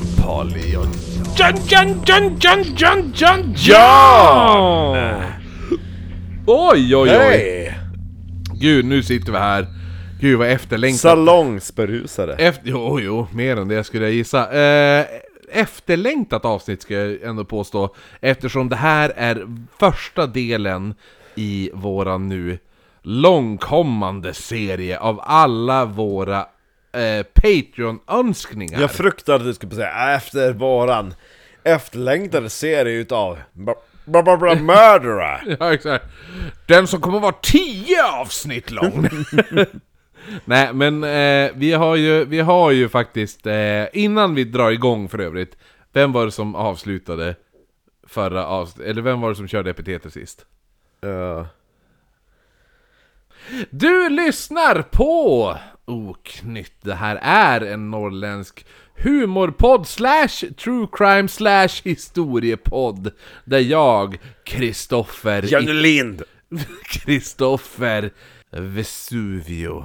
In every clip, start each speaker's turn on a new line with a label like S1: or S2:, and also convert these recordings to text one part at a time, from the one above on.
S1: Charlie och...
S2: John, John, John, John, John, John, John! Oj, oj, oj.
S1: Hej!
S2: Gud, nu sitter vi här. Gud vad efterlängtat.
S1: Salongsberusare.
S2: Efter, jo, jo, mer än det skulle jag gissa. Eh, efterlängtat avsnitt ska jag ändå påstå, eftersom det här är första delen i våran nu långkommande serie av alla våra eh, Patreon-önskningar.
S1: Jag fruktade att du skulle säga "Äh, efter våran efterlängtade serie utav... Bla, bla, bla, bla, mördare.
S2: Ja, exakt. Den som kommer vara 10 avsnitt lång! Nej, men eh, vi, har ju, vi har ju faktiskt, eh, innan vi drar igång för övrigt, vem var det som avslutade förra avsnittet? Eller vem var det som körde epitetet sist?
S1: Eh,
S2: Du lyssnar på Oknytt. Det här är en norrländsk humorpodd slash true crime slash historiepodd. Där jag, Kristoffer
S1: Jenny Lind.
S2: Kristoffer Vesuvio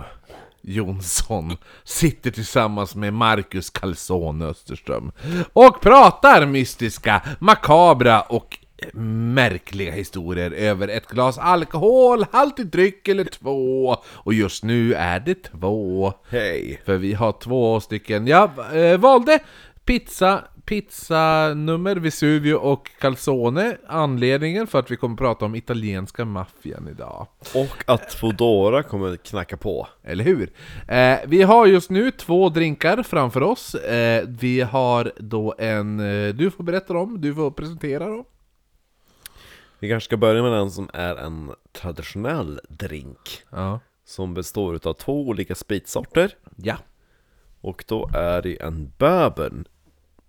S2: Jonsson sitter tillsammans med Marcus Calzone Österström och pratar mystiska, makabra och märkliga historier över ett glas alkoholhaltig dryck eller två och just nu är det två
S1: Hej.
S2: för vi har två stycken. Jag eh, valde pizza, pizza nummer Vesuvio och calzone. Anledningen för att vi kommer prata om italienska maffian idag.
S1: Och att Foodora kommer knacka på.
S2: Eller hur? Eh, vi har just nu två drinkar framför oss. Eh, vi har då en... Eh, du får berätta om, du får presentera dem.
S1: Vi kanske ska börja med den som är en traditionell drink.
S2: Ja.
S1: Som består utav två olika spritsorter.
S2: Ja.
S1: Och då är det en bourbon.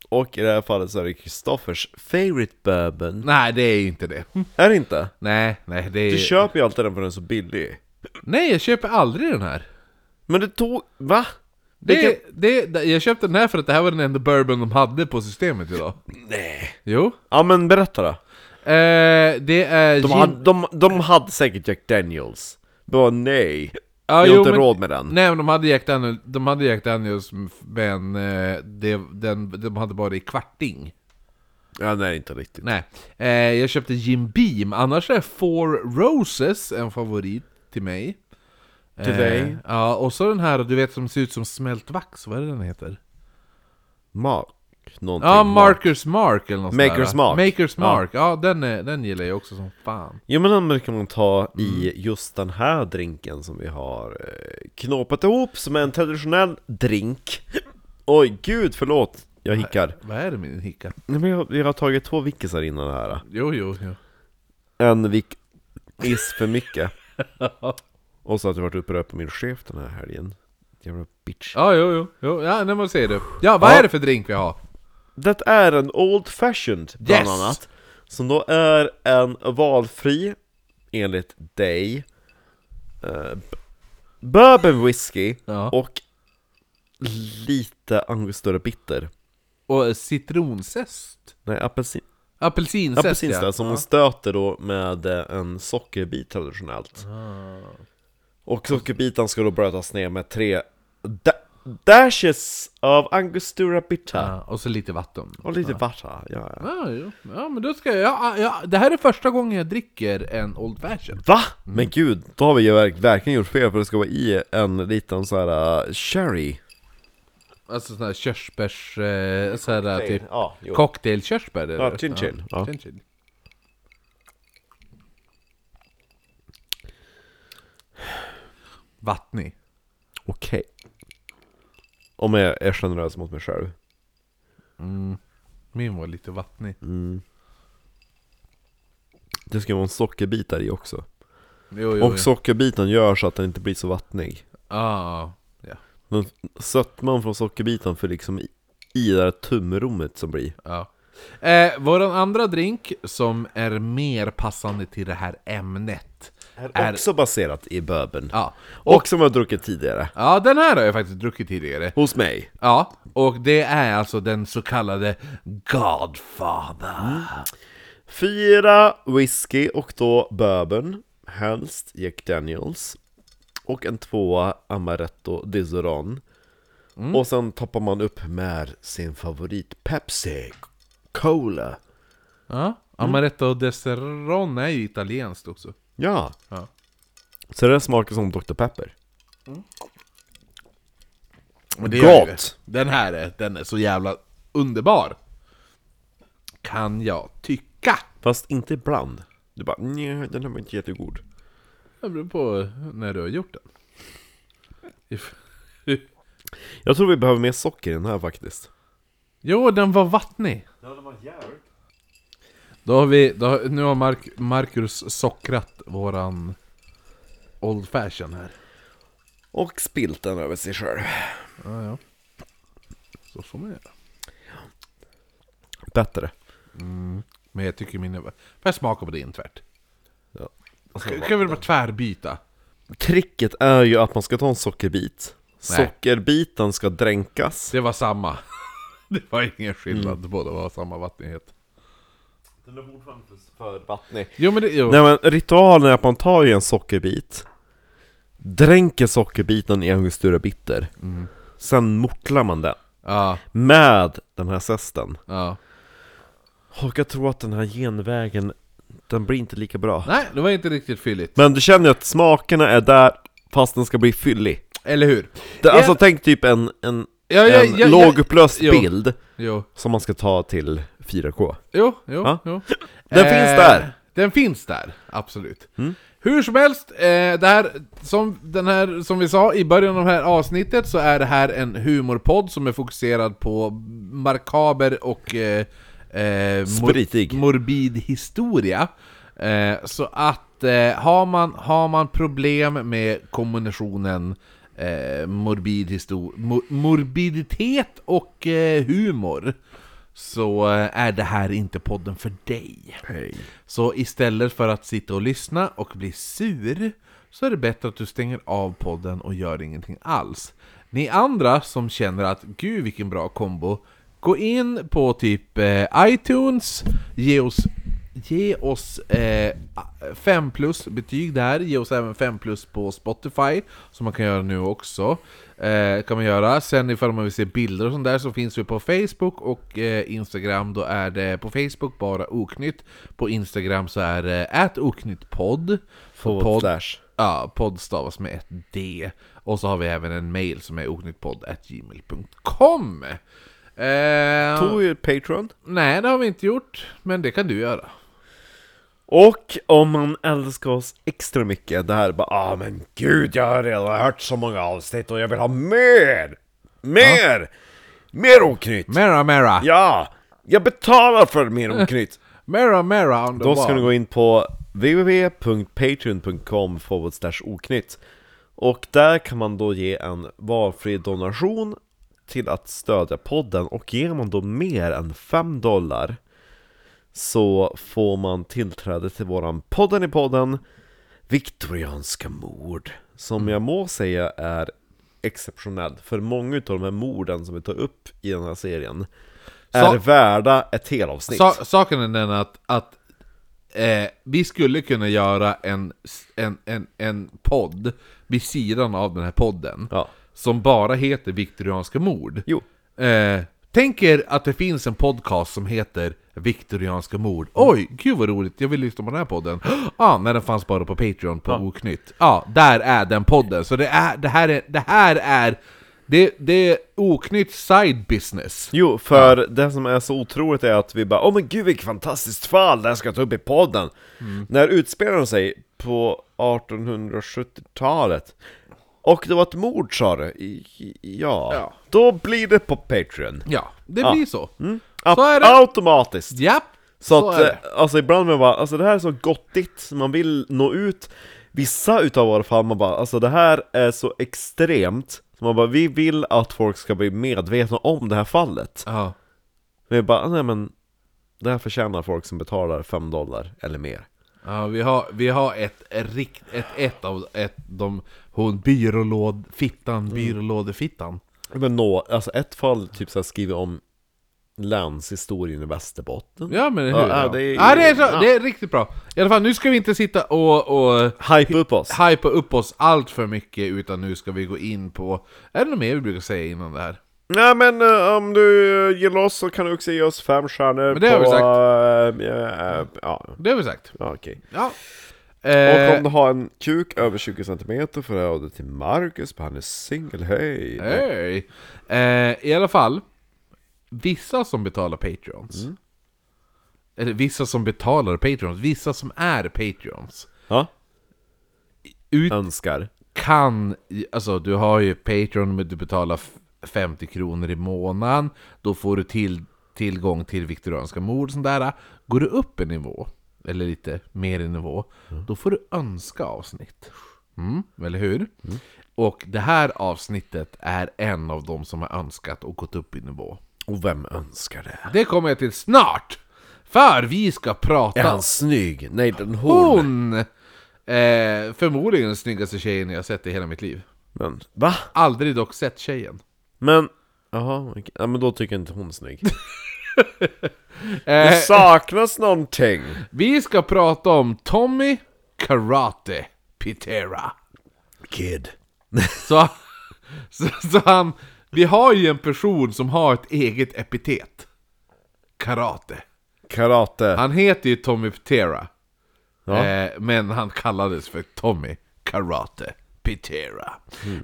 S1: Och i det här fallet så är det Kristoffers favorite bourbon.
S2: Nej, det är inte det.
S1: Är det inte?
S2: Nej, nej, det är...
S1: Mm. Du köper ju alltid den för den är så billig.
S2: Nej, jag köper aldrig den här.
S1: Men det tog... Va?
S2: Det,
S1: Vilken-
S2: det, det, jag köpte den här för att det här var den enda bourbon de hade på systemet idag.
S1: Nej.
S2: Jo.
S1: Ja men berätta då.
S2: Eh, det är...
S1: De
S2: gin-
S1: hade, de, de hade säkert Jack Daniels. Bara nej.
S2: Ja,
S1: vi har
S2: jo,
S1: inte
S2: men-
S1: råd med den.
S2: Nej men de hade Jack Daniels, de hade Jack Daniels men eh, det, den, de hade bara i kvarting.
S1: Ja, nej inte riktigt.
S2: Nej. Eh, jag köpte Jim Beam, annars är Four Roses en favorit till mig. Eh,
S1: Till dig?
S2: Ja, och så den här du vet som ser ut som smält vax, vad är det den heter?
S1: Mark. Någonting.
S2: Ja, Markers Mark eller något sånt
S1: Maker's
S2: där.
S1: Mark.
S2: Makers
S1: Ja.
S2: Mark, ja, den, är, den gillar jag också som fan.
S1: Jo men den brukar man ta i
S2: Mm.
S1: just den här drinken som vi har eh, knåpat ihop som är en traditionell drink. Oj gud, förlåt. Jag hickar.
S2: Vad är det med din hicka?
S1: Nej, men jag, jag har tagit två vickisar innan det här.
S2: Jo, jo, jo.
S1: En vick is för mycket. Och så att jag varit upprörd på min chef den här helgen. Jävla bitch.
S2: Ja, jo, jo, jo. ja, när man ser det. Ja, vad
S1: Ja.
S2: är det för drink vi har?
S1: Det är en Old Fashioned bland
S2: Yes!
S1: annat. Som då är en valfri, enligt dig, eh, b- bourbon whisky
S2: Ja.
S1: och lite angostura bitter.
S2: Och citronzest?
S1: Nej, apelsin.
S2: Apelsinzest
S1: Apelsinstad som hon stöter då med eh, en sockerbit traditionellt.
S2: Ah.
S1: Och sockerbiten ska då brötas ner med tre da dashes av angostura bitter.
S2: Ja, och så lite vatten.
S1: Och lite vatten. Ja, ja.
S2: Ja, jo. ja men då ska jag, ja, ja, det här är första gången jag dricker en Old Fashion.
S1: Va? Men gud, då har vi ju verk verkligen gjort fel för det ska vara i en liten så här eh, sherry.
S2: Alltså sån här körsbärs... Eh, så här typ
S1: Ja, jo.
S2: cocktailkörsbär eller?
S1: Ja, chin chin. Ja.
S2: chin chin. Vattnig.
S1: Okej. Om jag är generös mot mig själv.
S2: Min var lite vattnig.
S1: Mm. Det ska vara en sockerbit där i också.
S2: Jo, jo,
S1: Och sockerbiten gör så att den inte blir så vattnig.
S2: jo. Ah, ja.
S1: Men sötman från sockerbiten för liksom i, i det där tumrummet som blir.
S2: Ja. Eh, våran andra drink som är mer passande till det här ämnet
S1: Är också baserat i bourbon.
S2: Ja,
S1: Och, som jag har druckit tidigare.
S2: ja den här har jag faktiskt druckit tidigare.
S1: Hos mig.
S2: Ja, och det är alltså den så kallade Godfather.
S1: Mm. Fyra whisky och då bourbon. Helst Jack Daniels. Och en tvåa Amaretto Dizoran. Och sen toppar man upp med sin favorit Pepsi Cola
S2: Ja, Amaretto de Serron är ju italienskt också.
S1: Ja!
S2: Ja.
S1: Så det smakar som Dr. Pepper
S2: Men
S1: Gott!
S2: är det. Den här är, den är så jävla underbar. Kan jag tycka.
S1: Fast inte ibland Du bara nej, den här var inte jättegod
S2: Det beror på när du har gjort den. If-
S1: Jag tror vi behöver mer socker i den här faktiskt
S2: Jo, den var vattnig.
S1: Ja, den var jävligt
S2: Då har vi, då, har- nu har Mark, Marcus sockrat våran Old Fashion här.
S1: Och spilt den över sig själv
S2: Ja, ja. Så får man göra.
S1: Bättre
S2: Men jag tycker min är... Får jag smaka på din tvärt?
S1: ja.
S2: Ska, ska vi bara tvärbyta?
S1: Tricket är ju att man ska ta en sockerbit
S2: Nej.
S1: Sockerbiten ska dränkas
S2: Det var samma. Det var ingen skillnad, båda var samma vattnighet.
S1: Den är fortfarande för vattnig
S2: Jo men det, jo.
S1: Nej men ritualen är att man tar ju en sockerbit Dränker sockerbiten i en stura bitter Sen mortlar man den
S2: Ja,
S1: med den här zesten
S2: ja.
S1: Och jag tror att den här genvägen, den blir inte lika bra
S2: Nej, det var inte riktigt fylligt.
S1: Men du känner ju att smakerna är där fast den ska bli fyllig
S2: Eller hur?
S1: det,
S2: Ja.
S1: Alltså tänk typ en, en,
S2: Ja, ja,
S1: en
S2: ja, ja.
S1: lågupplöst
S2: Jo.
S1: bild
S2: Jo,
S1: som man ska ta till 4K
S2: jo, jo.
S1: Ja.
S2: jo. Eh,
S1: Den finns där. Mm.
S2: Den finns där, absolut. Hur som helst, eh, det här, som, den här, som vi sa i början av det här avsnittet så är det här en humorpodd som är fokuserad på markaber och eh, eh,
S1: Spritig.
S2: morbid historia. Eh, så att eh, har, man, har man problem med kombinationen eh, morbid histor- mor- morbiditet och eh, humor så eh, är det här inte podden för dig. Så istället för att sitta och lyssna och bli sur så är det bättre att du stänger av podden och gör ingenting alls. Ni andra som känner att gud vilken bra kombo, gå in på typ eh, iTunes, ge oss, ge oss eh, 5 plus betyg där, ge oss även 5 plus på Spotify som man kan göra nu också. Eh, kan man göra. Sen ifall man vill se bilder och sånt där så finns vi på Facebook och eh, Instagram. Då är det på Facebook bara oknytt. På Instagram så är det ät oknyttpodd.
S1: På
S2: Podd-
S1: Flash
S2: Ja, podd stavas med ett D. Och så har vi även en mail som är oknyttpodd.gmail.com. Eh,
S1: Tog ju Patreon
S2: Nej, det har vi inte gjort. Men det kan du göra.
S1: Och om man älskar oss extra mycket, det här är bara ah men gud jag har redan hört så många avsnitt och jag vill ha mer! Mer! Mer oknytt!
S2: Mera, mera!
S1: Ja! Jag betalar för mer oknytt!
S2: Mera, mera on the
S1: Då ska
S2: wall.
S1: ni gå in på www.patreon.com oknytt Och där kan man då ge en valfri donation till att stödja podden och ger man då mer än 5 dollar så får man tillträde till våran podden i podden Viktorianska mord Som jag må säga är exceptionell För många av de här morden som vi tar upp i den här serien Är
S2: Så-
S1: värda ett helavsnitt
S2: Sa, saken är den att, att eh, vi skulle kunna göra en, s- en, en, en podd vid sidan av den här podden
S1: Ja.
S2: som bara heter Viktorianska mord.
S1: Jo
S2: Eh, tänk er att det finns en podcast som heter Viktorianska mord. Oj, gud vad roligt, jag vill lyssna på den här podden. ah, när den fanns bara på Patreon på Oknytt. Ja, ah, där är den podden. Så det, är, det här är... Det här är det, det är Oknytt side business.
S1: Jo, för det som är så otroligt är att vi bara Åh men gud vilket fantastiskt fall, det här ska jag ta upp i podden!
S2: Mm.
S1: När utspelar de sig på 1870-talet Och det var ett mord sa du? I- i- Ja.
S2: Ja.
S1: Då blir det på Patreon!
S2: Ja, det blir så.
S1: Så
S2: Så är det.
S1: Automatiskt!
S2: Japp!
S1: Så,
S2: så
S1: att,
S2: är det.
S1: eh, alltså ibland man bara, alltså det här är så gottigt, man vill nå ut Vissa utav våra fall, man bara, alltså det här är så extremt så Man bara, vi vill att folk ska bli medvetna om det här fallet
S2: Ja.
S1: Vi bara, nej men Det här förtjänar folk som betalar 5 dollar eller mer
S2: Ja, vi har, vi har ett, rikt, ett, ett av ett, de, hon byrålåd,
S1: Mm.
S2: fittan, byrålådefittan.
S1: Men nå, alltså ett fall typ såhär skriver om länshistorien i Västerbotten.
S2: Ja men hur?
S1: Ja,
S2: Ja,
S1: ja, det är-
S2: Ja, det, är så,
S1: ja.
S2: det är riktigt bra. I alla fall, nu ska vi inte sitta och, och
S1: Hype upp oss!
S2: hypa upp oss allt för mycket, utan nu ska vi gå in på... Är det något mer vi brukar säga innan det här?
S1: Nej men eh, om du eh, gillar oss så kan du också ge oss fem stjärnor
S2: Men det har
S1: på...
S2: vi sagt.
S1: eh, eh, ja,
S2: Det har vi sagt.
S1: ja, okej.
S2: Ja.
S1: Och om
S2: Eh,
S1: du har en kuk över 20 cm får du av det till Marcus, för han är singel, hej!
S2: hej. eh, I alla fall, vissa som betalar Patreons, eller vissa som betalar Patreons, vissa som är Patreons,
S1: Ja,
S2: ut
S1: önskar.
S2: kan, alltså du har ju Patreon men du betalar f- 50 kronor i månaden, då får du till, tillgång till viktorianska mord och sånt där. Går du upp en nivå, eller lite mer i nivå,
S1: Mm.
S2: då får du önska avsnitt. Mm, eller hur? Och det här avsnittet är en av de som har önskat och gått upp i nivå.
S1: Och vem önskar det?
S2: Det kommer jag till snart! För vi ska prata
S1: Är han snygg? Nej, den hon!
S2: hon! Eh, förmodligen den snyggaste tjejen jag sett i hela mitt liv.
S1: Men, va?
S2: Aldrig dock sett tjejen.
S1: Men, jaha, okej. ja, men då tycker jag inte hon är snygg.
S2: Eh,
S1: Det saknas någonting!
S2: vi ska prata om Tommy Karate Pitera.
S1: Kid.
S2: Så, så, så han... Vi har ju en person som har ett eget epitet. Karate.
S1: Karate.
S2: Han heter ju Tommy Pitera.
S1: Ja.
S2: Eh, men han kallades för Tommy Karate Pitera.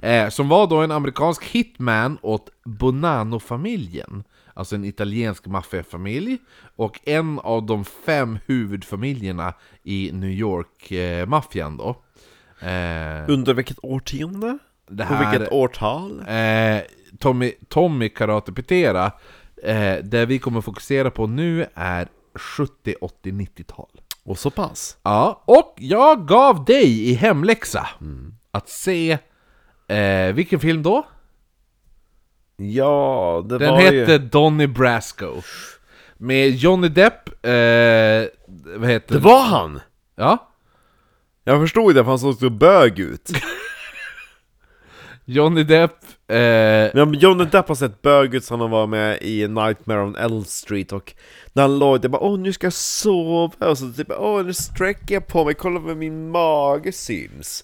S2: Eh, som var då en amerikansk hitman åt Bonanno-familjen. Alltså en italiensk maffiafamilj. Och en av de fem huvudfamiljerna i New York-maffian då. Eh,
S1: Under vilket årtionde?
S2: det
S1: På
S2: här,
S1: vilket årtal?
S2: eh, Tommy, Tommy Karate Pitera, eh, det vi kommer fokusera på nu är 70, 80, 90-tal.
S1: Och så pass.
S2: Ja, och jag gav dig i hemläxa att se eh, vilken film då?
S1: Ja, det
S2: Den
S1: var
S2: hette
S1: ju...
S2: Donny Brasco. Med Johnny Depp, eh, vad heter
S1: Det var han!
S2: Ja,
S1: Jag förstod det, för han såg så bög ut.
S2: Johnny Depp, eh,
S1: Men Johnny Depp har sett bög ut sen han var med i Nightmare on Elm Street och när han låg där bara åh nu ska jag sova och så typ åh nu sträcker jag på mig, kolla vad min mage syns.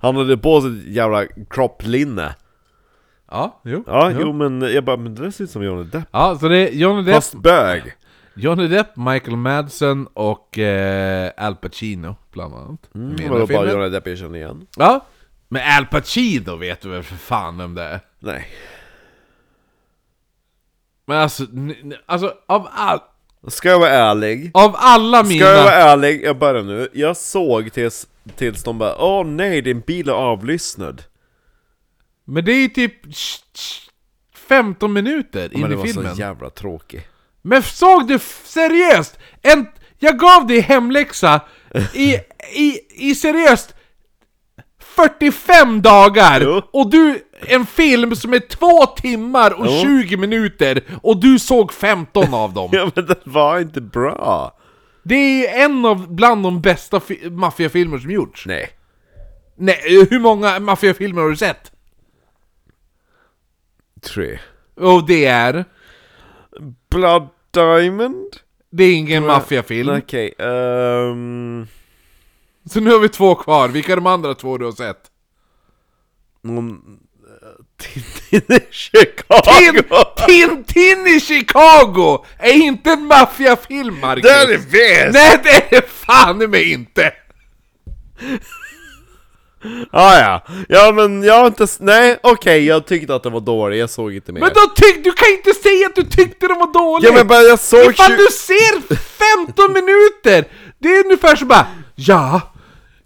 S1: Han hade på sig ett jävla kropplinne.
S2: ja, jo.
S1: Ja, jo. men jag bara, men det där ser ut som Johnny Depp.
S2: Ja, Mm. så det är Johnny Depp,
S1: Fast bög!
S2: Johnny Depp, Michael Madsen och eh, Al Pacino bland annat.
S1: Mm,
S2: Med i
S1: det
S2: den här
S1: var bara
S2: filmen.
S1: Johnny Depp jag känner igen.
S2: Ja, men Al Pacino vet du väl för fan vem det är?
S1: Nej.
S2: Men alltså, n- n- alltså av, all,
S1: Ska jag vara ärlig?
S2: av alla mina...
S1: Ska jag vara ärlig? Jag börjar nu. Jag såg tills, tills de bara åh nej din bil är avlyssnad.
S2: Men det är ju typ sh- sh- 15 minuter
S1: Men
S2: in
S1: det
S2: i
S1: var
S2: filmen.
S1: så jävla tråkig.
S2: Men såg du f- seriöst? En... Jag gav dig hemläxa i, i, i seriöst 45 dagar!
S1: Jo.
S2: Och du, en film som är två timmar och
S1: Jo.
S2: 20 minuter och du såg 15 av dem.
S1: Ja men det var inte bra!
S2: Det är ju en av bland de bästa fi- maffiafilmer som gjorts.
S1: Nej.
S2: Nej, hur många maffiafilmer har du sett?
S1: Tre.
S2: Och det är...
S1: Blood Diamond?
S2: Det är ingen maffiafilm.
S1: Okej, ehm...
S2: Så nu har vi två kvar, vilka är de andra två du har sett?
S1: Någon... eh, Tintin i Chicago!
S2: Tintin i Chicago är inte en maffiafilm Marcus!
S1: Där är väst!
S2: Nej det är det fan i mig inte!
S1: Ah, ja. ja, men jag har inte... s- Nej, okej, jag tyckte att det var dålig, jag såg inte mer.
S2: Men då tyck, du kan inte säga att du tyckte den var dålig!
S1: ja men bara jag såg...
S2: Ifall
S1: tju-
S2: du ser 15 minuter! Det är ungefär så bara, ja...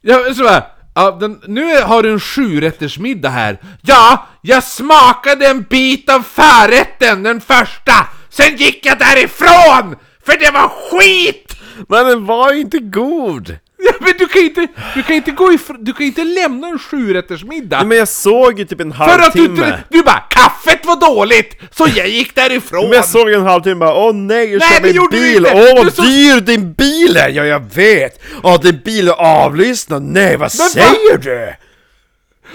S2: ja så bara, ja, den, nu har du en sjurättersmiddag här. Ja, jag smakade en bit av förrätten, den första! Sen gick jag därifrån! För det var skit!
S1: Men den var ju inte god!
S2: Ja, men du kan ju inte, du kan inte gå ifrån, du kan ju inte lämna en sjurättersmiddag!
S1: Nej, men jag såg ju typ en
S2: för att du,
S1: halvtimme!
S2: du bara 'Kaffet var dåligt, så jag gick därifrån!'
S1: Men jag såg en halvtimme bara, åh nej, jag
S2: Nej,
S1: kör
S2: det
S1: min
S2: gjorde du
S1: bil,
S2: inte.
S1: åh
S2: Du
S1: vad
S2: så-
S1: dyr din bil är! Ja, jag vet! Ja, din bil är avlyssnad, nej vad
S2: Men
S1: säger du?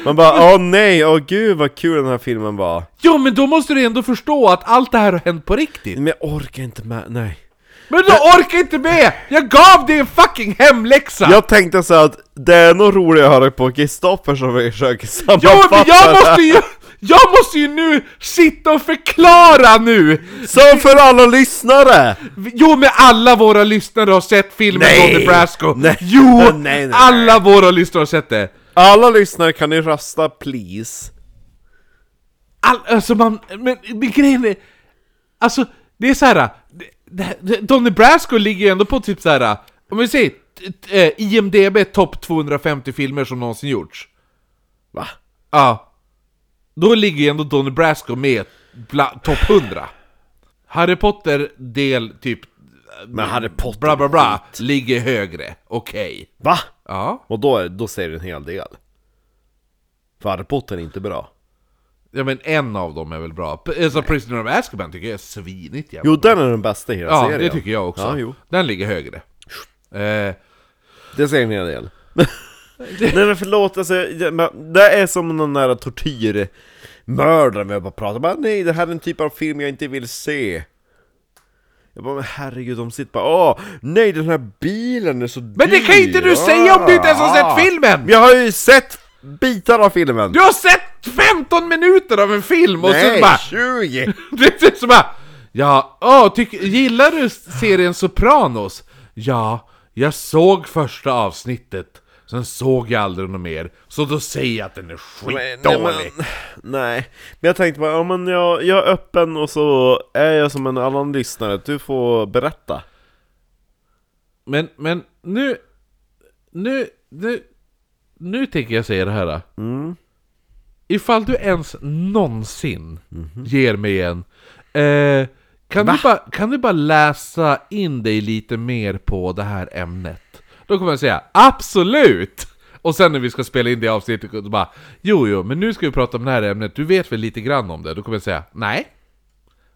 S1: Man bara åh nej, åh gud vad kul den här filmen var
S2: Ja men då måste du ändå förstå att allt det här har hänt på riktigt!
S1: Men jag orkar inte med, nej
S2: Men du orkar inte med! Jag gav dig en fucking hemläxa!
S1: Jag tänkte så att det är nog roligt att höra på Kristoffer som försöker
S2: Jo
S1: sammanfatta
S2: men jag
S1: det här.
S2: måste ju... Jag måste ju nu sitta och förklara nu!
S1: Som för alla lyssnare!
S2: Jo men alla våra lyssnare har sett filmen
S1: Nej.
S2: Don Nebrasco!
S1: Nej.
S2: Jo!
S1: Nej, nej, nej.
S2: Alla våra lyssnare har sett det!
S1: Alla lyssnare kan ni rösta please?
S2: All, alltså man, men, men grejen är... Alltså, det är så här. det- det- det- Don Nebrasco ligger ju ändå på typ så här. om vi säger t- t- eh, IMDB topp 250 filmer som någonsin gjorts.
S1: Va?
S2: Ja. Då ligger ju ändå Don Nebrasco med bla, topp 100. Harry Potter del typ...
S1: Men Harry Potter
S2: Bla bla bla, ligger högre. Okej.
S1: Va?
S2: Ja.
S1: Och då, är, då säger det en hel del För Harry Potter är inte bra
S2: Ja men en av dem är väl bra. P- Alltså Prisoner of Azkaban tycker jag är svinigt jävla
S1: Jo den är den bästa i hela
S2: Ja,
S1: serien
S2: det tycker jag också.
S1: Ja, jo.
S2: Den ligger högre. Eh,
S1: Det säger en hel del Nej men förlåt, alltså, det, men det är som någon nära tortyrmördare vi har bara pratat bara nej det här är en typ av film jag inte vill se Jag bara men herregud, de sitter bara åh nej den här bilen är så Ah.
S2: men det kan inte du säga om du inte ens har sett filmen!
S1: Jag har ju sett bitar av filmen!
S2: Du har sett 15 minuter av en film och så
S1: nej,
S2: bara...
S1: 20!
S2: Det är så bara... Ja, åh, tyck, gillar du serien Sopranos? Ja, jag såg första avsnittet, sen såg jag aldrig något mer, så då säger jag att den är
S1: Men-
S2: skitdålig.
S1: Nej, men, nej, men jag tänkte bara, ja, men jag, jag är öppen och så är jag som en annan lyssnare, du får berätta.
S2: Men, men nu, nu, nu, nu tänker jag säga det här. Mm. Ifall du ens någonsin
S1: Mhm.
S2: ger mig en, eh, kan, du bara, kan du bara läsa in dig lite mer på det här ämnet? Då kommer jag säga absolut! Och sen när vi ska spela in det avsnittet, då bara jo, jo, men nu ska vi prata om det här ämnet, du vet väl lite grann om det? Då kommer jag säga nej.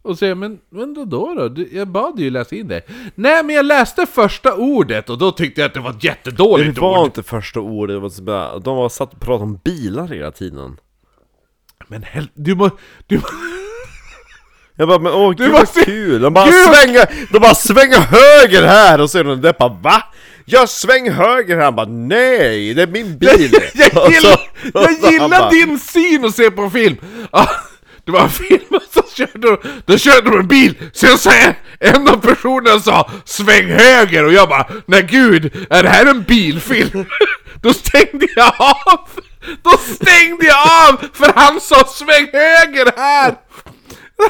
S2: Och säger men, men då då? då? Du, jag bad dig ju läsa in det. Nej men jag läste första ordet och då tyckte jag att det var ett jättedåligt
S1: Det var
S2: ord.
S1: inte första ordet, det var så bara, de var satt och pratade om bilar hela tiden.
S2: Men hel... du må... Du må...
S1: Jag bara, men åh gud vad
S2: måste-
S1: kul! De bara,
S2: Gud!
S1: svänger, de bara svänger höger här! Och så är de där bara, va? Jag sväng höger här! Han bara, nej! Det är min bil!
S2: Jag
S1: Och så-
S2: gillar,
S1: och så
S2: jag
S1: han
S2: gillar
S1: bara,
S2: din syn att se på en film! Ja, det var en film och så körde de, då körde de en bil, sen så här, en av personerna sa 'Sväng höger' och jag bara 'Nej gud, är det här en bilfilm?' Då stängde jag av! Då stängde jag av! För han sa 'Sväng höger här'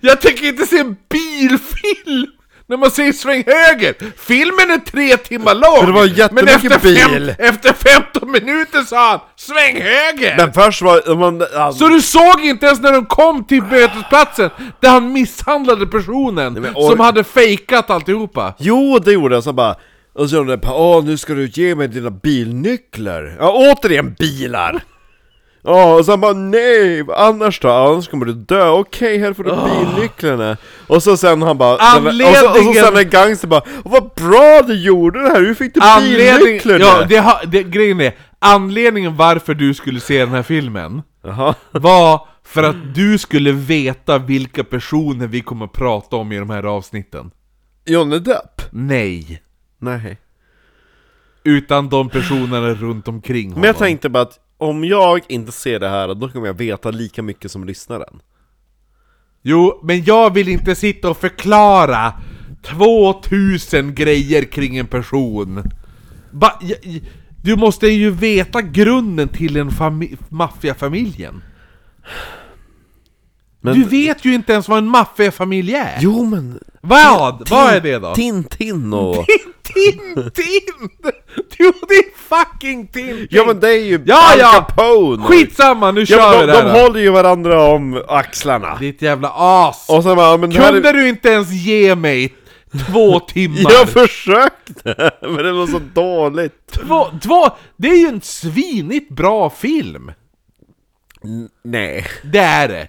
S2: Jag tänker inte se en bilfilm! När man säger sväng höger! Filmen är tre timmar lång!
S1: Men det var jättemycket
S2: efter
S1: bil.
S2: efter 15 minuter sa han 'Sväng höger!'
S1: Men först var, man, han,
S2: Så du såg inte ens när de kom till mötesplatsen där han misshandlade personen
S1: men or-
S2: som hade fejkat alltihopa?
S1: Jo, det gjorde jag, så bara och så gjorde de det, åh nu ska du ge mig dina bilnycklar! Ja, återigen bilar! Ja, och sen bara nej, vad annars då? Annars kommer du dö, okej här får du
S2: Ah.
S1: bilnycklarna! Och så sen han bara... Och så, och så sen en
S2: Anledningen-
S1: gangster bara, vad bra du gjorde det här, hur fick du
S2: Anledning,
S1: bilnycklarna?
S2: ja, det, har- det, grejen är, anledningen varför du skulle se den här filmen
S1: Jaha.
S2: var för att du skulle veta vilka personer vi kommer prata om i de här avsnitten.
S1: Johnny Depp?
S2: Nej.
S1: Nej.
S2: Utan de personerna runt omkring honom.
S1: Men jag tänkte bara att om jag inte ser det här, då kommer jag veta lika mycket som lyssnaren.
S2: Jo, men jag vill inte sitta och förklara 2000 grejer kring en person. Va, j- j- du måste ju veta grunden till en fami- maffiafamiljen.
S1: Men-
S2: Du vet ju inte ens vad en maffiafamilj är.
S1: Jo men...
S2: vad? Vad är det då?
S1: Tintin och...
S2: Tintin! Jo, det är fucking Tintin!
S1: Ja men det är ju
S2: Ja,
S1: Al
S2: ja.
S1: Capone!
S2: Skitsamma, nu
S1: Ja,
S2: kör vi
S1: men
S2: det
S1: de, de
S2: här då.
S1: håller ju varandra om axlarna.
S2: Ditt jävla as!
S1: Och sen bara, ja, men det här
S2: Kunde
S1: är...
S2: du inte ens ge mig två timmar?
S1: Jag försökte! Men det var så dåligt.
S2: Två, två, det är ju en svinigt bra film!
S1: Nej.
S2: Det är det!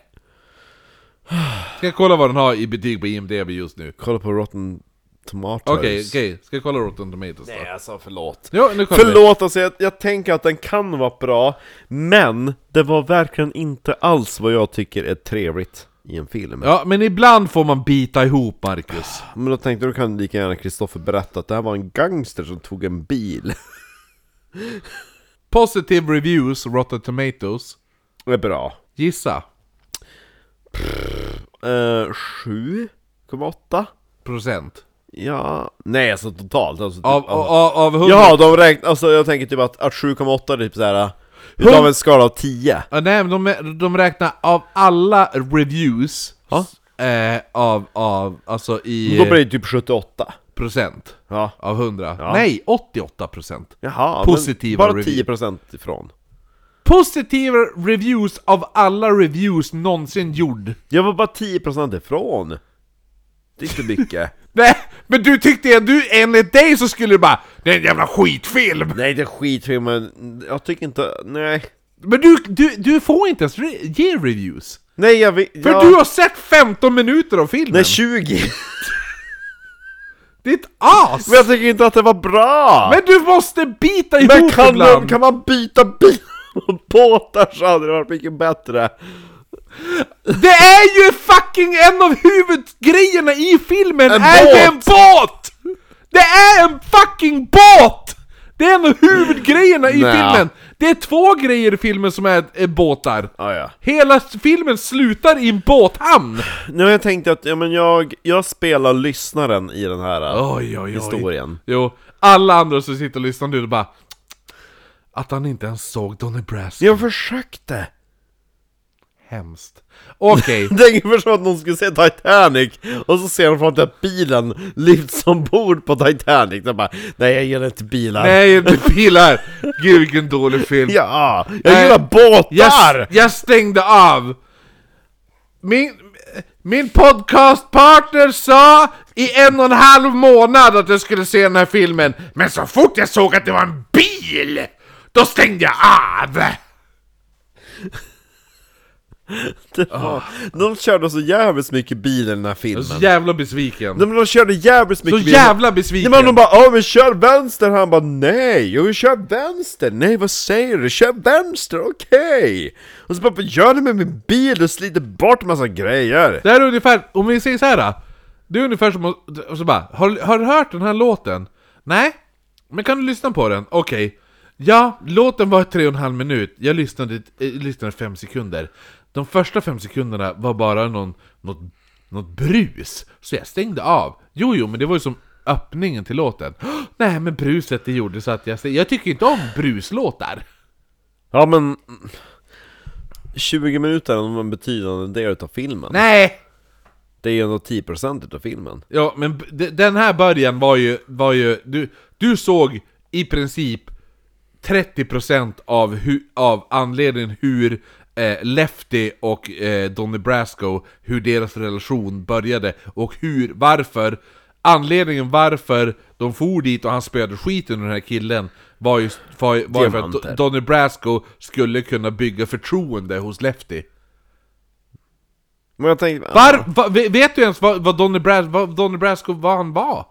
S2: Ska jag kolla vad den har i betyg på IMDB just nu?
S1: Kolla på Rotten Tomatoes.
S2: Okej, okej. Ska jag kolla Rotten Tomatoes då?
S1: Nej, alltså förlåt.
S2: Jo, nu kollar vi.
S1: Förlåt, alltså jag, jag tänker att den kan vara bra, men det var verkligen inte alls vad jag tycker är trevligt i en film.
S2: Ja, men ibland får man bita ihop, Marcus.
S1: Men då tänkte du kan lika gärna Kristoffer berätta att det här var en gangster som tog en bil.
S2: Positive reviews, Rotten Tomatoes.
S1: Det är bra.
S2: Gissa.
S1: Eh, 7,8?
S2: Procent.
S1: Ja, nej alltså totalt. Alltså, typ,
S2: Av,
S1: alltså.
S2: av, av 100...
S1: Jaha, de räknar, alltså jag tänker typ att, att 7,8 är typ såhär, utav en skala av 10.
S2: Ja, nej, men de, de räknar av alla reviews
S1: Ja.
S2: eh, av, av, alltså i
S1: Då blir det typ 78.
S2: procent
S1: Ja.
S2: av 100. Nej, 88 procent.
S1: Jaha,
S2: Positiva
S1: men bara
S2: review.
S1: 10% ifrån.
S2: Positiva reviews av alla reviews någonsin gjord.
S1: Jag var bara 10% ifrån. Det är inte mycket.
S2: Nej, men du tyckte att du, enligt dig så skulle du bara Det är en jävla skitfilm!
S1: nej, det är skitfilm, men jag tycker inte, nej.
S2: Men du, du, du får inte ens re- ge reviews.
S1: Nej, jag vet,
S2: För
S1: ja,
S2: du har sett 15 minuter av filmen!
S1: nej 20!
S2: Ditt as!
S1: men jag tycker inte att det var bra!
S2: Men du måste bita ihop
S1: Men kan,
S2: ibland!
S1: man, kan man byta bil och båtar så hade det varit mycket bättre.
S2: Det är ju fucking en av huvudgrejerna i filmen!
S1: En
S2: är
S1: båt.
S2: det en båt! Det är en fucking båt! Det är en av huvudgrejerna i
S1: Nja.
S2: filmen! Det är två grejer i filmen som är, är båtar.
S1: Ah, ja.
S2: Hela s- filmen slutar i en båthamn!
S1: Nu har jag tänkt att ja, men jag, jag spelar lyssnaren i den här eh,
S2: Oj, oj, oj.
S1: historien.
S2: Jo, alla andra som sitter och lyssnar nu, de bara... Att han inte ens såg Donny Brasco.
S1: Jag försökte!
S2: Hemskt. Okej.
S1: Det är ungefär som att någon skulle se Titanic och så ser de framför att bilen lyfts ombord på Titanic. De bara, nej jag gillar inte bilar.
S2: Nej, inte bilar! Gud vilken dålig film.
S1: Ja, jag
S2: Nej.
S1: gillar båtar!
S2: Jag, s- jag stängde av! Min, min podcastpartner sa i en och en halv månad att jag skulle se den här filmen Men så fort jag såg att det var en bil, då stängde jag av!
S1: Det var- De körde så jävligt mycket bil i den här
S2: Jag är så
S1: filmen.
S2: jävla besviken
S1: De, de körde jävligt
S2: Så
S1: mycket bil.
S2: jävla
S1: Nej,
S2: besviken!
S1: men de bara "Ja, men kör vänster” Han bara ”Nej, jag vill köra vänster” Nej, vad säger du? Kör vänster, okej! Och så bara "Vad gör du med min bil? Du sliter bort en massa grejer!”
S2: Det här är ungefär, om vi säger så här. då. Det är ungefär som att- och så bara, har, har du hört den här låten? Nej? Men kan du lyssna på den? Okej. Ja, låten var tre och en halv minut, jag lyssnade, eh, lyssnade fem sekunder. De första fem sekunderna var bara någon, något, något brus, så jag stängde av. Jo, jo, men det var ju som öppningen till låten. Nej, men bruset det gjorde så att jag stängde. Jag tycker inte om bruslåtar.
S1: Ja men... 20 minuter är en betydande del utav filmen.
S2: Nej!
S1: Det är ju ändå 10% utav filmen.
S2: Ja, men b- de- den här början var ju... Var ju du, du såg i princip 30% av, hu, av anledningen hur eh, Lefty och eh, Donny Brasco, hur deras relation började och hur, varför, anledningen varför de for dit och han spöade skiten ur den här killen var ju var, ju- var ju för att Do-
S1: Diamanter.
S2: Donny Brasco skulle kunna bygga förtroende hos Lefty.
S1: Men jag ah, tänkte...
S2: Var, va, ve- vet du ens vad, vad, Donny Bras, vad Donny Brasco vad han var?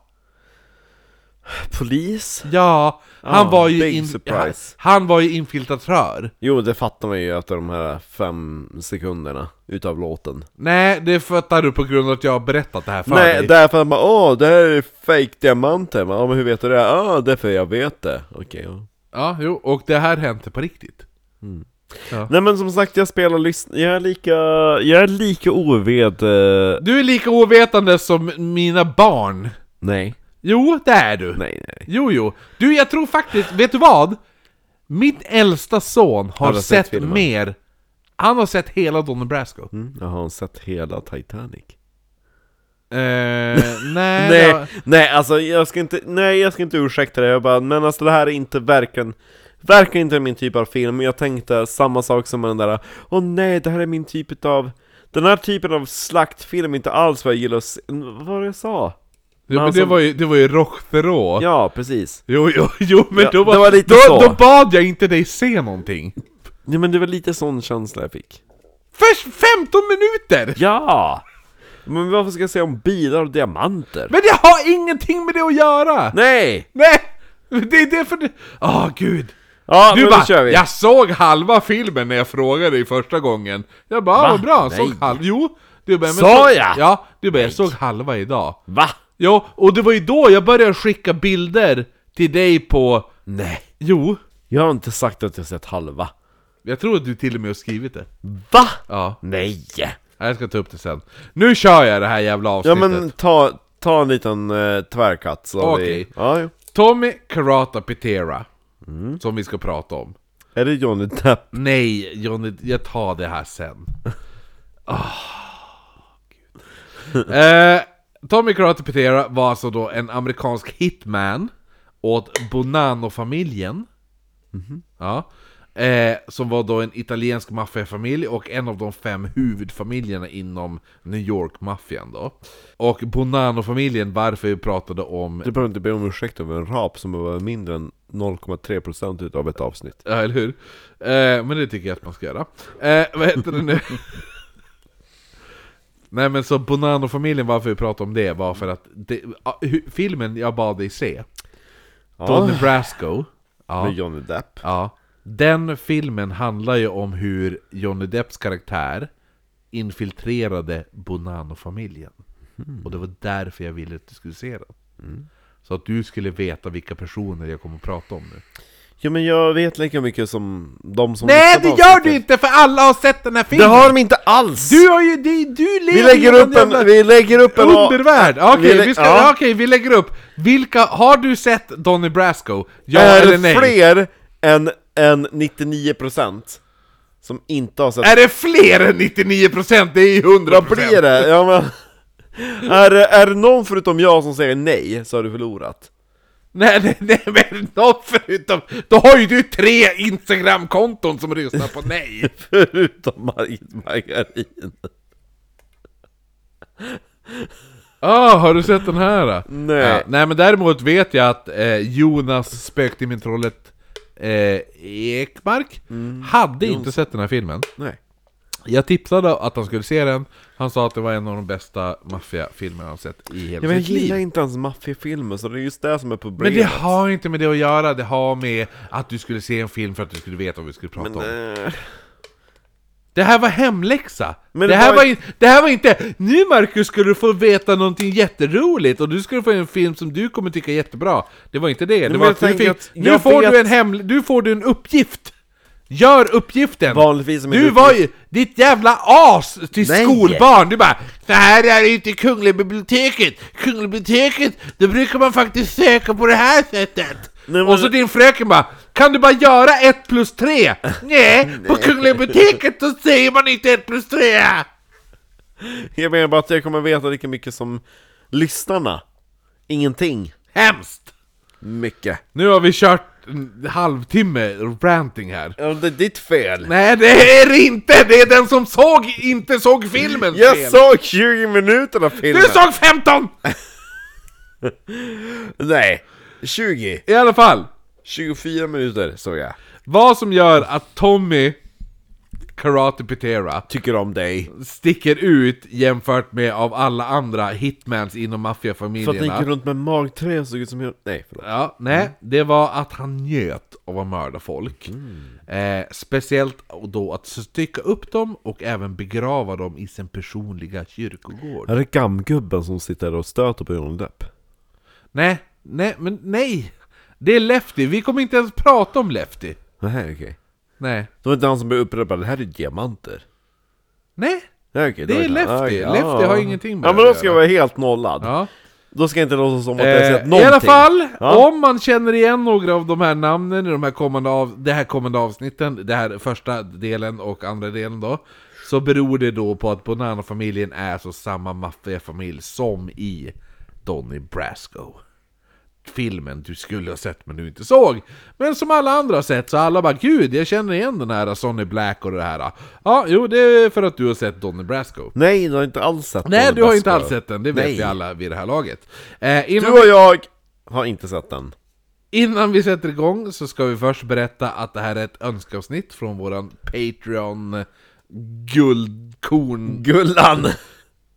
S1: Polis?
S2: Ja, han,
S1: Ah,
S2: var ju
S1: big
S2: in, han,
S1: surprise.
S2: han var ju infiltratör.
S1: Jo, det fattar man ju efter de här fem sekunderna utav låten.
S2: Nej, det fattar du på grund av att jag har berättat det här för
S1: Nej,
S2: dig.
S1: därför att man åh, det här är fake diamanter. Man, Ja, men hur vet du det? Ja, därför jag vet det. Okej, ja.
S2: Ja, jo, och det här hände på riktigt.
S1: Nej men som sagt, jag spelar lyssn... Jag är lika... Jag är lika oved... eh,
S2: Du är lika ovetande som mina barn.
S1: Nej.
S2: Jo, det är du.
S1: Nej, nej.
S2: Jo, jo. Du, jag tror faktiskt, vet du vad? Min äldsta son har
S1: Han har sett
S2: sett,
S1: filmen.
S2: mer. Han har sett hela Donny Brasco.
S1: Mm, jag har sett hela Titanic.
S2: Eh, nej, det
S1: Nej,
S2: var-
S1: nej, alltså jag ska inte, nej jag ska inte ursäkta det, jag bara, men alltså det här är inte verkligen Verkligen inte min typ av film, jag tänkte samma sak som med den där Åh nej, det här är min typ av Den här typen av slaktfilm är inte alls vad jag gillar att se Vad var det jag sa?
S2: Jo, men
S1: han
S2: det
S1: som-
S2: var ju, det var ju Rochterå.
S1: Ja, precis
S2: Jo, jo, jo, men
S1: Ja,
S2: då, var,
S1: det var lite
S2: då,
S1: så.
S2: då bad jag inte dig se någonting.
S1: Nej men det var lite sån känsla jag fick
S2: Först 15 minuter!
S1: Ja! Men varför ska jag säga om bilar och diamanter?
S2: Men jag har ingenting med det att göra!
S1: Nej!
S2: Nej! Det är det för det... Åh gud!
S1: Ja,
S2: Du
S1: men
S2: bara,
S1: nu kör vi!
S2: jag såg halva filmen när jag frågade dig första gången. Jag bara, ah, vad bra, jag såg
S1: Nej.
S2: halva. Jo! Du bara, men
S1: Sa
S2: så-
S1: jag?
S2: Ja, du bara, jag såg halva idag.
S1: Va?
S2: Jo, och det var ju då jag började skicka bilder till dig på...
S1: Nej!
S2: Jo,
S1: Jag har inte sagt att jag sett halva.
S2: jag tror att du till och med har skrivit det.
S1: Va?
S2: Ja,
S1: Nej!
S2: jag ska ta upp det sen. Nu kör jag det här jävla
S1: Ja
S2: avsnittet.
S1: men ta, ta en liten eh, tvärkatt så har vi...
S2: Okej.
S1: Ja, jo.
S2: Tommy Karata Pitera, som vi ska prata om.
S1: Är det Johnny Depp?
S2: Nej, Johnny, jag tar det här sen. Oh, Gud. Eh, Tommy Karate Pitera var alltså då en amerikansk hitman åt Bonanno-familjen. Ja. Eh, som var då en italiensk maffiafamilj och en av de fem huvudfamiljerna inom New York-maffian då. Och Bonanno-familjen, varför vi pratade om...
S1: Du behöver inte be om ursäkt över en rap som var mindre än 0,3% utav ett avsnitt.
S2: Ja, eller hur? Eh, men det tycker jag att man ska göra. Eh, vad heter det nu? Nej men så Bonanno-familjen, varför vi pratade om det var för att det, ah, hu- filmen jag bad dig se, Donny Brasco, ja,
S1: Med Johnny Depp.
S2: ja, den filmen handlar ju om hur Johnny Depps karaktär infiltrerade Bonanno-familjen. Och det var därför jag ville att du skulle se den. Så att du skulle veta vilka personer jag kommer att prata om nu.
S1: Ja men jag vet lika mycket som de som
S2: Nej det
S1: lyssnar på
S2: gör
S1: avsnittet.
S2: du inte för alla har sett den här
S1: Det
S2: filmen!
S1: har de inte alls!
S2: Du har ju, det, du lever
S1: vi lägger
S2: i
S1: upp
S2: jävla
S1: en, vi lägger upp en...
S2: undervärld! Okej,
S1: Vi lä-
S2: vi, ska,
S1: ja.
S2: okej, vi lägger upp. Vilka, har du sett Donny Brasco? Ja
S1: är
S2: eller
S1: det
S2: nej?
S1: fler än, än 99% som inte har sett
S2: Är det fler än 99%? Det är ju 100%!
S1: Vad blir det? Ja, men... är, det- är det någon förutom jag som säger nej, så har du förlorat.
S2: Nej, nej, nej, men någon förutom... Då har ju du tre Instagram-konton som lyssnar på nej!
S1: förutom Margit Margarin.
S2: Ah, har du sett den här då?
S1: Nej.
S2: Ja, nej men däremot vet jag att eh, Jonas spökte min trollet eh, Ekmark
S1: Mm.
S2: hade inte sett den här filmen.
S1: Nej.
S2: Jag tipsade att han skulle se den, han sa att det var en av de bästa maffiafilmerna han sett i hela
S1: Ja, men jag
S2: sitt liv.
S1: gillar inte ens maffiafilmer, så det är just det som är
S2: Men
S1: problemet.
S2: det har inte med det att göra, det har med att du skulle se en film för att du skulle veta vad vi skulle prata om.
S1: Men, eh,
S2: Det här var hemläxa!
S1: Men
S2: det,
S1: det
S2: här
S1: var-
S2: var... in- det här var inte... Nu Marcus skulle du få veta någonting jätteroligt och du skulle få en film som du kommer tycka är jättebra. Det var inte det. det
S1: men
S2: var
S1: jag
S2: att du
S1: tänker
S2: fick...
S1: att
S2: Nu
S1: jag
S2: får
S1: vet-
S2: du en hem... Nu får du en uppgift! Gör uppgiften!
S1: Vanligtvis är min
S2: Du
S1: uppgift-
S2: var ju ditt jävla as till
S1: Nej.
S2: skolbarn! Du bara Så här är det inte i Kungliga biblioteket! Kungliga biblioteket, då brukar man faktiskt söka på det här sättet!
S1: Nej, men-
S2: Och så din fröken bara Kan du bara göra 1 plus 3? Nej, på Kungliga biblioteket så säger man inte 1 plus 3!
S1: Jag menar bara att jag kommer veta lika mycket som lyssnarna. Ingenting.
S2: Hemskt!
S1: Mycket.
S2: Nu har vi kört en halvtimme ranting här
S1: Ja, det är ditt fel.
S2: Nej det är det inte! Det är den som såg, inte såg filmen
S1: Jag
S2: fel.
S1: såg 20 minuter av
S2: Du
S1: filmen!
S2: såg 15!
S1: Nej, 20.
S2: I alla fall
S1: 24 minuter såg jag.
S2: Vad som gör att Tommy Karate Pitera
S1: Tycker om dig.
S2: sticker ut jämfört med av alla andra hitmans inom
S1: För att ni
S2: maffiafamiljerna
S1: gick runt med magträ och såg ut som jag... Nej, förlåt.
S2: Ja, nej,
S1: Mm.
S2: det var att han njöt av att mörda folk.
S1: Mm.
S2: Eh, speciellt då att stycka upp dem och även begrava dem i sin personliga kyrkogård.
S1: Är det gammgubben som sitter och stöter på Johnny Depp?
S2: Nej, nej, men nej! Det är Lefty, vi kommer inte ens prata om Lefty.
S1: Nej, okej.
S2: Nej,
S1: Det var inte han som blev upprepad, det här är diamanter.
S2: nej,
S1: Ja, okej,
S2: det
S1: då
S2: är
S1: jag- ja,
S2: Lefty.
S1: okej, ja.
S2: Lefty har ingenting med
S1: Ja
S2: det
S1: men då
S2: att
S1: ska jag
S2: göra.
S1: vara helt nollad.
S2: Ja.
S1: Då ska jag inte låta som att jag har sett
S2: Eh,
S1: någonting.
S2: I alla fall,
S1: Ja.
S2: om man känner igen några av de här namnen i de här kommande, av, det här kommande avsnitten, det här första delen och andra delen då, så beror det då på att Bonanno-familjen är så samma maffiafamilj som i Donny Brasco. Filmen du skulle ha sett men du inte såg. Men som alla andra har sett så alla bara 'Gud, jag känner igen den här Sonny Black och det här' Ja, jo det är för att du har sett Donny Brasco.
S1: Nej, du har inte alls sett
S2: Nej,
S1: Donny
S2: du har
S1: Brasco.
S2: inte alls sett den, det vet
S1: Nej.
S2: vi alla vid det här laget. Eh, innan
S1: Du och jag har inte sett den.
S2: Innan vi sätter igång så ska vi först berätta att det här är ett önskeavsnitt från våran Patreon guldkorn
S1: Gullan!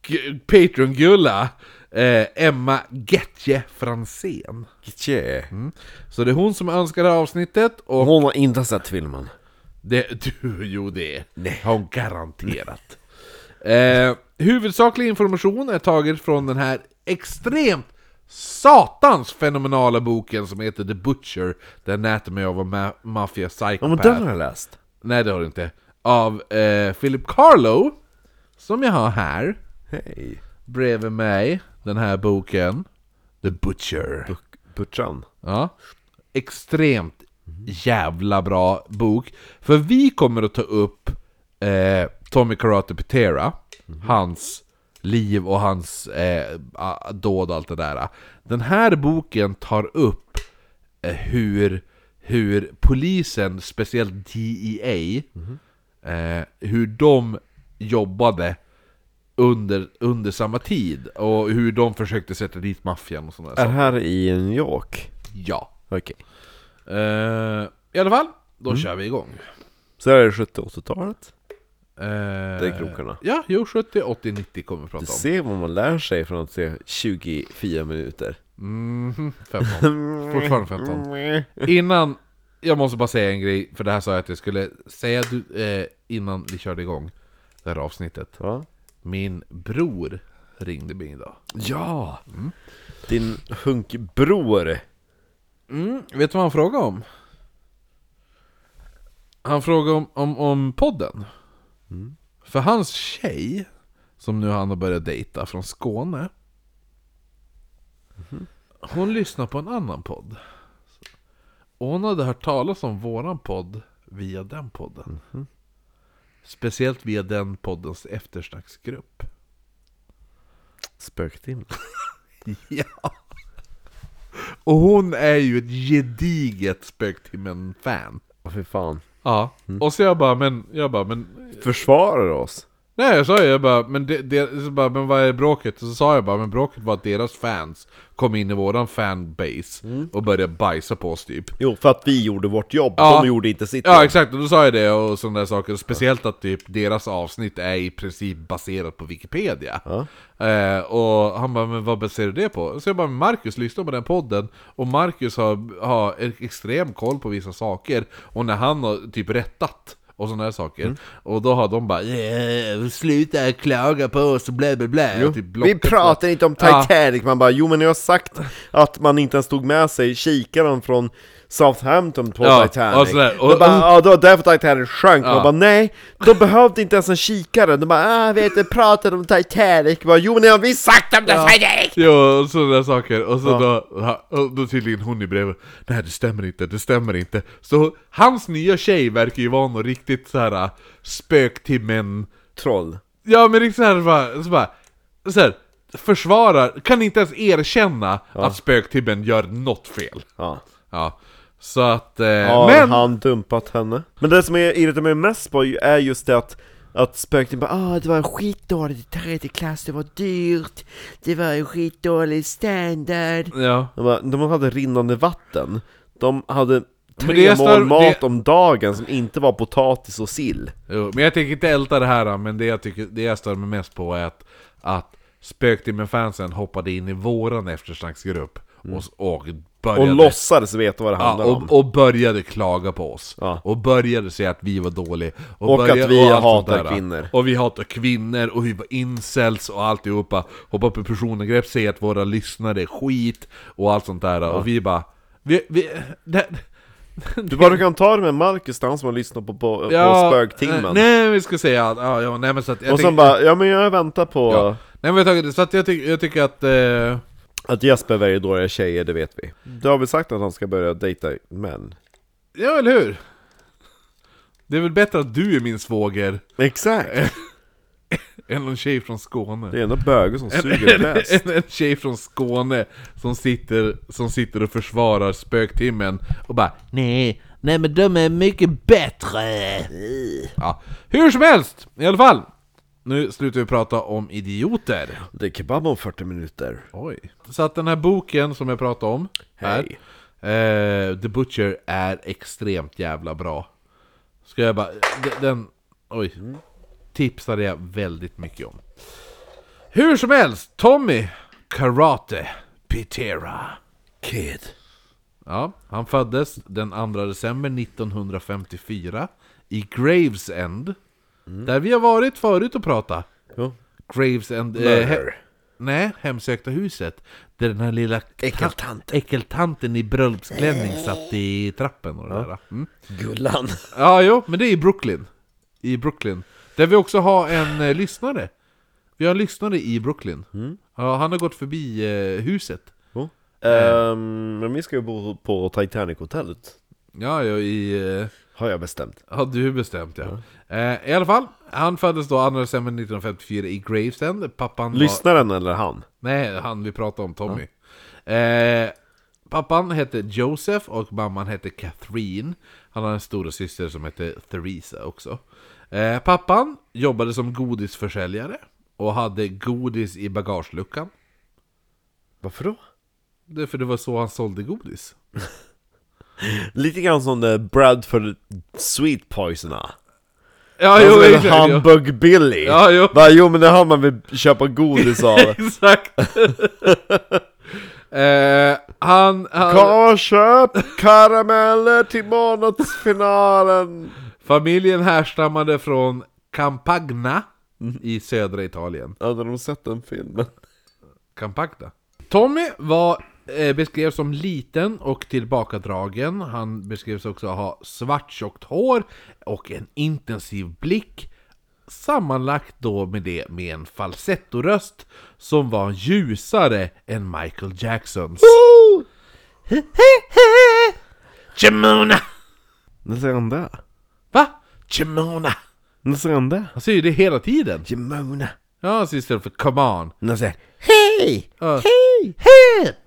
S2: gu- Patreon-gulla Eh, Emma Getje Fransén. Mm.
S1: Yeah.
S2: Så det är hon som önskar det här avsnittet och
S1: Hon har inte sett filmen.
S2: det, du, jo det
S1: Nej.
S2: har hon garanterat. Eh, huvudsaklig information är taget från den här extremt satans fenomenala boken som heter The Butcher, The Anatomy of a Ma- Mafia Psychopath.
S1: Ja men den har jag läst.
S2: Nej det har du inte. Av eh, Philip Carlo, som jag har här,
S1: Hej.
S2: bredvid mig, den här boken. The Butcher.
S1: Butchan.
S2: Ja. Extremt jävla bra bok. För vi kommer att ta upp eh, Tommy Karate Pitera, hans liv och hans eh, a- dåd och allt det där. Den här boken tar upp eh, hur, hur polisen, speciellt DEA, eh, hur de jobbade under, under samma tid och hur de försökte sätta dit maffian och sådana
S1: Är
S2: saker.
S1: här i New York?
S2: Ja.
S1: Okej.
S2: Eh, I alla fall, då
S1: Mm.
S2: kör vi igång.
S1: Så här är det 70-80-talet.
S2: Eh,
S1: Det är krokarna.
S2: Ja, jo 70, 80, 90 kommer vi prata
S1: Du
S2: om.
S1: ser vad man lär sig från att se 24 minuter.
S2: Mhm, 15. Fortfarande 15. Innan, jag måste bara säga en grej, för det här sa jag att jag skulle säga du, eh, innan vi körde igång det här avsnittet.
S1: Va?
S2: Min bror ringde mig idag.
S1: Ja! Mm. Din hunkbror.
S2: Vet du vad han frågade om? Han frågade om, om, om podden. För hans tjej, som nu han har börjat dejta från Skåne. Hon lyssnar på en annan podd. Och hon hade hört talas om våran podd via den podden. Speciellt via den poddens eftersnacksgrupp.
S1: Spöktimmen.
S2: Ja. Och hon är ju ett gediget Spöktimmen-fan.
S1: Åh fy fan.
S2: Ja, och så jag bara, men, jag bara, men
S1: Försvarar oss.
S2: Nej jag sa ju, jag bara, men, det, det, så bara, men vad är bråket? Så sa jag bara, men bråket var att deras fans kom in i våran fanbase och började bajsa på oss typ
S1: Jo, för att vi gjorde vårt jobb.
S2: Ja.
S1: De gjorde inte sitt
S2: Ja
S1: jobb.
S2: exakt, och då sa jag det och sådana där saker. Speciellt att typ deras avsnitt är i princip baserat på Wikipedia. Eh, och han bara, men vad baserar du det på? Så jag bara, Marcus lyssnar på den podden och Marcus har, har en extrem koll på vissa saker. Och när han har typ rättat och sådana där saker.
S1: Mm.
S2: Och då har de bara "Eh, Sluta klaga på oss och bla bla bla. och typ
S1: vi
S2: blockat folk.
S1: pratar inte om
S2: Ja.
S1: Titanic, man bara jo men jag har sagt att man inte ens tog med sig kikaren från Southampton på
S2: Ja,
S1: Titanic
S2: och sådär.
S1: och,
S2: Och-
S1: bara, ja, då, därför Titanic sjönk, man
S2: Ja.
S1: bara nej, då behövde inte ens en kikare, de bara ah, vi har inte pratat om Titanic, man bara, jo men jag har visst sagt om Titanic!
S2: Jo, och sådana där saker. Och så då, och då tydligen hon i brevet. Nej, det stämmer inte, det stämmer inte. Så hans nya tjej verkar ju vara någon riktigt så här äh, spök till män.
S1: Troll.
S2: Ja, men riktigt så här, bara, så bara, så här försvarar, kan inte ens erkänna att spöktibben gör något fel.
S1: Ja.
S2: Ja, så att... Eh,
S1: Har
S2: men...
S1: han dumpat henne? Men det som jag irriterar mig mest på är just det att att spöken bara ah det var skitdåligt i tredje klass, det var dyrt, det var en skitdålig standard
S2: Ja.
S1: De, bara, de hade rinnande vatten. De hade
S2: Men
S1: tre
S2: det är
S1: mål
S2: snarare-
S1: mat
S2: det-
S1: om dagen som inte var potatis och sill.
S2: Jo, men jag tänker inte älta det här, men det jag, tycker, det jag stör mig mest på är att, att Spöktimmen-fansen hoppade in i våran eftersnacksgrupp och, s- och
S1: Mm. Och
S2: började...
S1: låtsades veta vad det
S2: Ja,
S1: handlade om.
S2: och, och började klaga på oss.
S1: Ja.
S2: Och började säga att vi var dåliga.
S1: Och att
S2: började,
S1: vi
S2: allt sånt
S1: hatar
S2: där.
S1: kvinnor.
S2: Och vi hatar kvinnor, och vi var incels och alltihopa. Hoppa på personangrepp, säga att våra lyssnare är skit och allt sånt där. Och vi bara... Vi, vi, det,
S1: Du bara kan ta det med Marcus, han som har lyssnat på, på, på spöktimmen.
S2: eh, Nej, vi ska säga att... Ja, ja, nej, men så att jag
S1: och sen
S2: tänker-
S1: bara, ja men jag väntar på
S2: Ja. Nej men jag tagit det, så att jag, tyck, jag tycker att... Eh,
S1: att Jesper väljer dåliga tjejer, det vet vi. Du har väl sagt att han ska börja dejta män?
S2: ja eller hur? Det är väl bättre att du är min svåger
S1: Exakt!
S2: än en tjej från Skåne.
S1: Det är ändå böger som suger bäst.
S2: Än en tjej från Skåne som sitter, som sitter och försvarar spöktimmen och bara Nej, nej men de är mycket bättre!
S1: Mm.
S2: Ja, hur som helst! I alla fall! Nu slutar vi prata om idioter.
S1: Det är kebab om 40 minuter.
S2: Oj. Så att den här boken som jag pratade om,
S1: Hej.
S2: här, eh, The Butcher, är extremt jävla bra. Ska jag bara... d- Den... Oj. Tipsade jag väldigt mycket om. Hur som helst, Tommy Karate Pitera.
S1: Kid.
S2: Ja, han föddes den 2 december 1954 i Gravesend. Där vi har varit förut och pratat.
S1: Jo.
S2: Gravesend... Eh, he- nej, Hemsökta huset. Där den här lilla
S1: Äckeltanten.
S2: äckeltanten i bröllopsklänning satt i trappen och det där. Mm.
S1: Gullan.
S2: Ja, jo, men det är i Brooklyn. I Brooklyn. Där vi också har en eh, lyssnare. Vi har en lyssnare i Brooklyn. Ja, han har gått förbi eh, huset.
S1: Jo. Oh. Ehm, men vi ska ju bo på Titanic-hotellet.
S2: Ja, ja i... Eh,
S1: Har jag bestämt.
S2: Ja, du bestämt ja. Eh, I alla fall, han föddes då 2 december 1954 i Gravesend. Pappan var...
S1: Lyssnaren eller han?
S2: Nej, han vi pratar om, Tommy. Eh, pappan hette Joseph och mamman hette Catherine. Han har en stora syster som hette Theresa också. Eh, pappan jobbade som godisförsäljare och hade godis i bagageluckan.
S1: Varför då?
S2: Det är för det var så han sålde godis.
S1: Lite grann som det Bradford Sweet Poisoner.
S2: Ja,
S1: Han som heter
S2: exakt, ja.
S1: Humbug Billy.
S2: Ja, jo.
S1: Va, jo men det har man väl köpa godis av.
S2: Exakt! eh, han, han,
S1: Kom och köp karameller till månadsfinalen!
S2: familjen härstammade från Campagna i södra Italien.
S1: Hade de sett den filmen?
S2: Campagna. Tommy var, eh, beskrevs som liten och tillbakadragen. Han beskrevs också ha svart tjockt hår och en intensiv blick. Sammanlagt då med det med en falsettoröst som var ljusare än Michael Jacksons. Chimona!
S1: När säger han det?
S2: Va? Chimona!
S1: När säger han det?
S2: Han säger ju det hela tiden.
S1: Jimona.
S2: Ja, han säger istället för 'Come on'
S1: När säger Hej!
S2: Ja.
S1: Hej!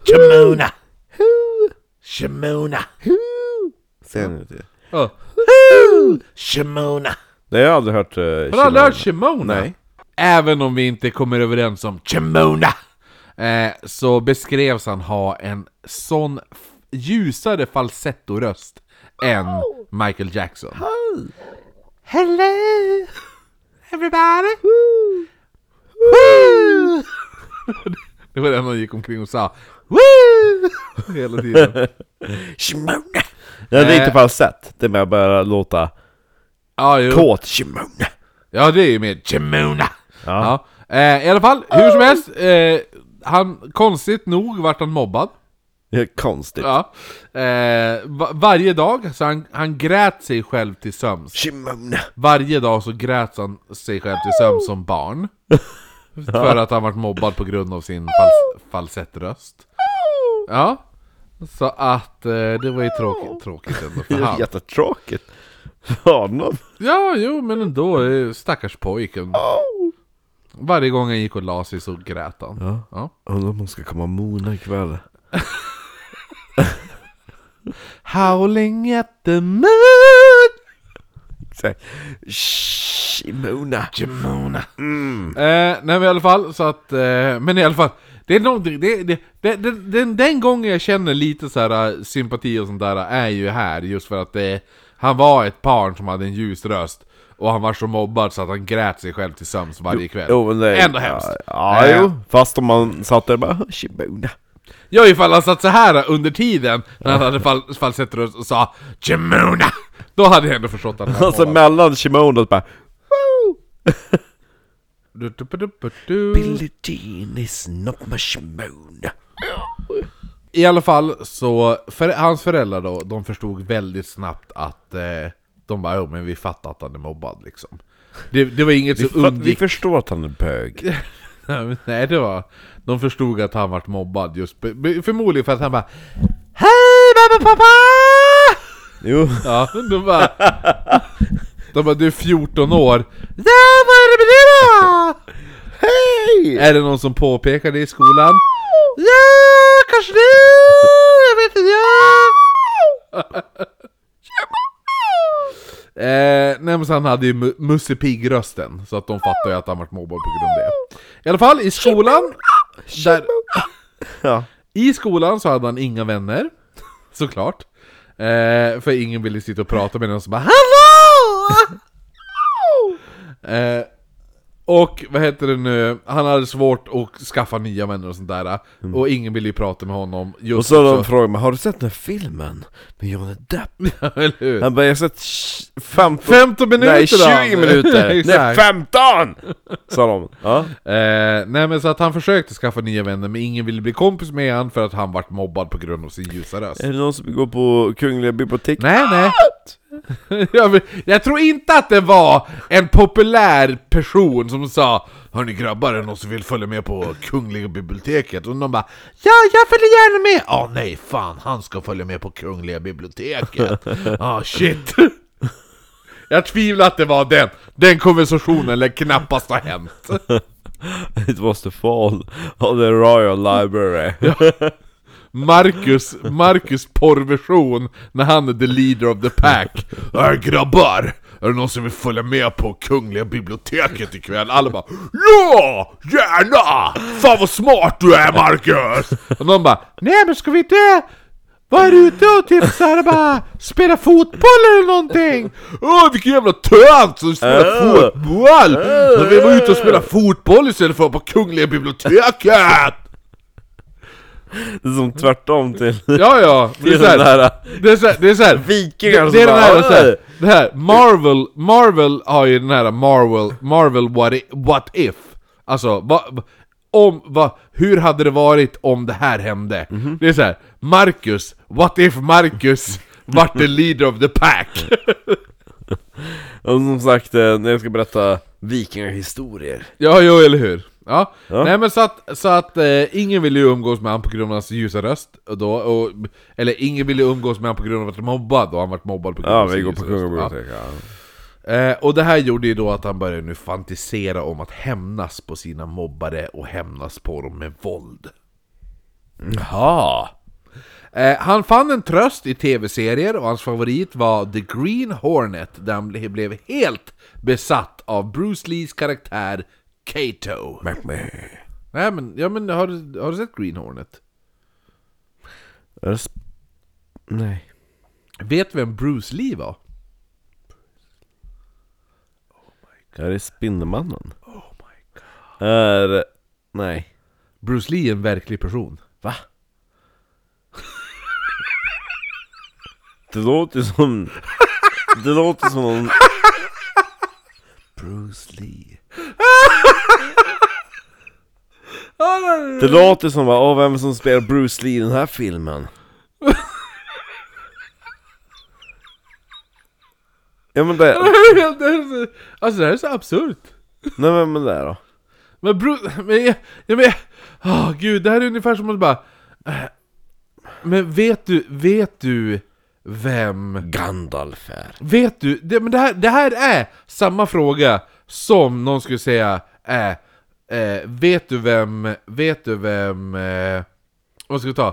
S2: Chimona!
S1: Hu!
S2: Chimona!
S1: Hu! Säger han inte.
S2: Ja.
S1: Shimona. Nej jag har aldrig hört uh,
S2: Har du aldrig hört Chimona?
S1: Nej.
S2: Även om vi inte kommer överens om Chimona! Eh, så beskrevs han ha en sån f- ljusare falsettoröst än Michael Jackson. Hello! Everybody! Woo! Det var det enda han gick omkring och sa. Woo! Hela tiden.
S1: Shimona. Ja det är inte
S2: Eh.
S1: falsett, det är med att börja låta
S2: Ja, jo.
S1: kåt Shimona.
S2: Ja, det är ju mer Chimona! Ja.
S1: Ja.
S2: Eh, I alla fall, hur som helst. Eh, han, konstigt nog vart han mobbad.
S1: Det är konstigt.
S2: Ja. Eh, va- varje dag, så han, han grät sig själv till sömns.
S1: Shimona.
S2: Varje dag så grät han sig själv till sömns som barn. För att han vart mobbad på grund av sin fals- falsettröst. Ja. Så att eh, det var ju tråkigt, tråkigt ändå
S1: Det
S2: för
S1: är
S2: han.
S1: jättetråkigt. För honom.
S2: Ja, jo men ändå. eh, Stackars pojken. Varje gång han gick och la sig så grät han.
S1: Ja.
S2: Ja.
S1: Undrar om hon ska komma Mona ikväll.
S2: Howling at the moon!
S1: Shimona.
S2: Jemona.
S1: Mm.
S2: Eh, nej men i alla fall, så att... Eh, men i alla fall. Det är någonting, det, det, det, det, den, den gången jag känner lite så här eh, sympati och sånt där eh, är ju här. Just för att det, han var ett barn som hade en ljus röst. Och han var så mobbad så att han grät sig själv till sömns varje kväll.
S1: Jo, men det
S2: Ändå hemskt.
S1: Ja, ja
S2: Eh.
S1: jo. Fast om man satt där och bara Shimona.
S2: Ja, ifall han satt så här eh, under tiden när han hade fall, falsettröst och sa Jemona! Då hade jag ändå förstått att han var
S1: Alltså
S2: mobbad.
S1: mellan Shimona och bara
S2: Du, du, du, du, du.
S1: Jean is not my Shimona.
S2: I alla fall så, för, hans föräldrar då, de förstod väldigt snabbt att eh, de bara jo men vi fattar att han är mobbad liksom. Det, det var inget som
S1: Vi
S2: undgick...
S1: förstår att han är bög.
S2: Nej det var... De förstod att han vart mobbad just, be- be- förmodligen för att han bara Hej mamma pappa!
S1: Jo.
S2: Ja, de bara... de bara du är 14 år. Ja, vad är det med det då?
S1: Hej!
S2: Är det någon som påpekar det i skolan? Ja, kanske det! Jag vet inte, ja! Eh, nej men så han hade ju Mu- Musse Pigg-rösten, så att de fattar ju att han vart mobbad på grund av det. I alla fall, i skolan... Där,
S1: Ja.
S2: I skolan så hade han inga vänner, såklart. Eh, för ingen ville sitta och prata med någon som bara 'Hallå!' eh, Och vad heter det nu, han hade svårt att skaffa nya vänner och sånt där eh, Och ingen ville ju prata med honom just
S1: Mm. Och så har de
S2: också.
S1: frågat mig, har du sett den här filmen med Johnny Depp?
S2: Eller hur?
S1: Han bara, jag har sett tj- 15,
S2: 15 minuter
S1: nej 20
S2: Dan.
S1: minuter! nej
S2: Exakt.
S1: 15! Sa de. Ja.
S2: Eh, nej men så att han försökte skaffa nya vänner men ingen ville bli kompis med han för att han vart mobbad på grund av sin ljusa röst.
S1: Är det någon som vill gå på Kungliga biblioteket?
S2: Nej nej. jag, vill- jag tror inte att det var en populär person som sa Hörni grabbar, är det någon som vill följa med på Kungliga biblioteket? Och någon bara Ja, jag följer gärna med! Ja, nej fan, han ska följa med på Kungliga biblioteket! Ah shit! jag tvivlar att det var den, den konversationen lär knappast ha hänt.
S1: It was the fall of the Royal Library.
S2: Marcus, Marcus porrversion när han är the leader of the pack. Är grabbar, är det någon som vill följa med på Kungliga biblioteket ikväll? Alla bara Ja! Gärna! Fan vad smart du är Marcus! Och någon bara Nej men ska vi inte vara ute och typ såhär bara spela fotboll eller någonting? Åh vilken jävla tönt som spelar fotboll! När vi var ute och spelade fotboll istället för att vara på Kungliga biblioteket!
S1: Det är som tvärtom till, till
S2: Ja ja, men det är
S1: den
S2: så här-
S1: där
S2: det är såhär, det är såhär
S1: vikingar som
S2: det är den
S1: bara,
S2: här, så
S1: "Åh!"
S2: här, det här, Marvel, Marvel har ju den här Marvel, Marvel what if, what if. Alltså, va, va- om, va, hur hade det varit om det här hände? Det är så här, Marcus, what if Marcus vart the leader of the pack?
S1: Och som sagt, eh, när jag ska berätta vikingahistorier
S2: ja, jo, eller hur? Ja. nej men så att, så att eh, ingen ville ju umgås med honom på grund av hans ljusa röst, och då, och, eller ingen ville umgås med honom på grund av att han var mobbad, och han vart mobbad på grund
S1: Ja,
S2: av
S1: vi
S2: sin
S1: går på
S2: ljusa röst. Ja.
S1: Kungabiblioteket ja.
S2: Eh, och det här gjorde ju då att han började nu fantisera om att hämnas på sina mobbare och hämnas på dem med våld.
S1: Jaha!
S2: Eh, han fann en tröst i tv-serier och hans favorit var The Green Hornet där han ble- blev helt besatt av Bruce Lees karaktär Kato. Nej men, ja, men har, du- har du sett Green Hornet?
S1: Är det sp- Nej
S2: Vet vem Bruce Lee var?
S1: Är det Spindelmannen? Oh my god Är... Nej
S2: Bruce Lee är en verklig person.
S1: Va? Det låter som... Det låter som någon... Bruce Lee Det låter som bara, åh vem är det som spelar Bruce Lee i den här filmen? Ja men det,
S2: alltså det här är så absurt.
S1: nej men, men det då
S2: Men Bruce, men jag, jag men, åh gud, det här är ungefär som att bara... eh, Men vet du, vet du vem?
S1: Gandalf är
S2: Vet du? Det, men det här, det här är samma fråga som någon skulle säga är... Eh, vet du vem, vet du vem, eh, vad ska vi ta?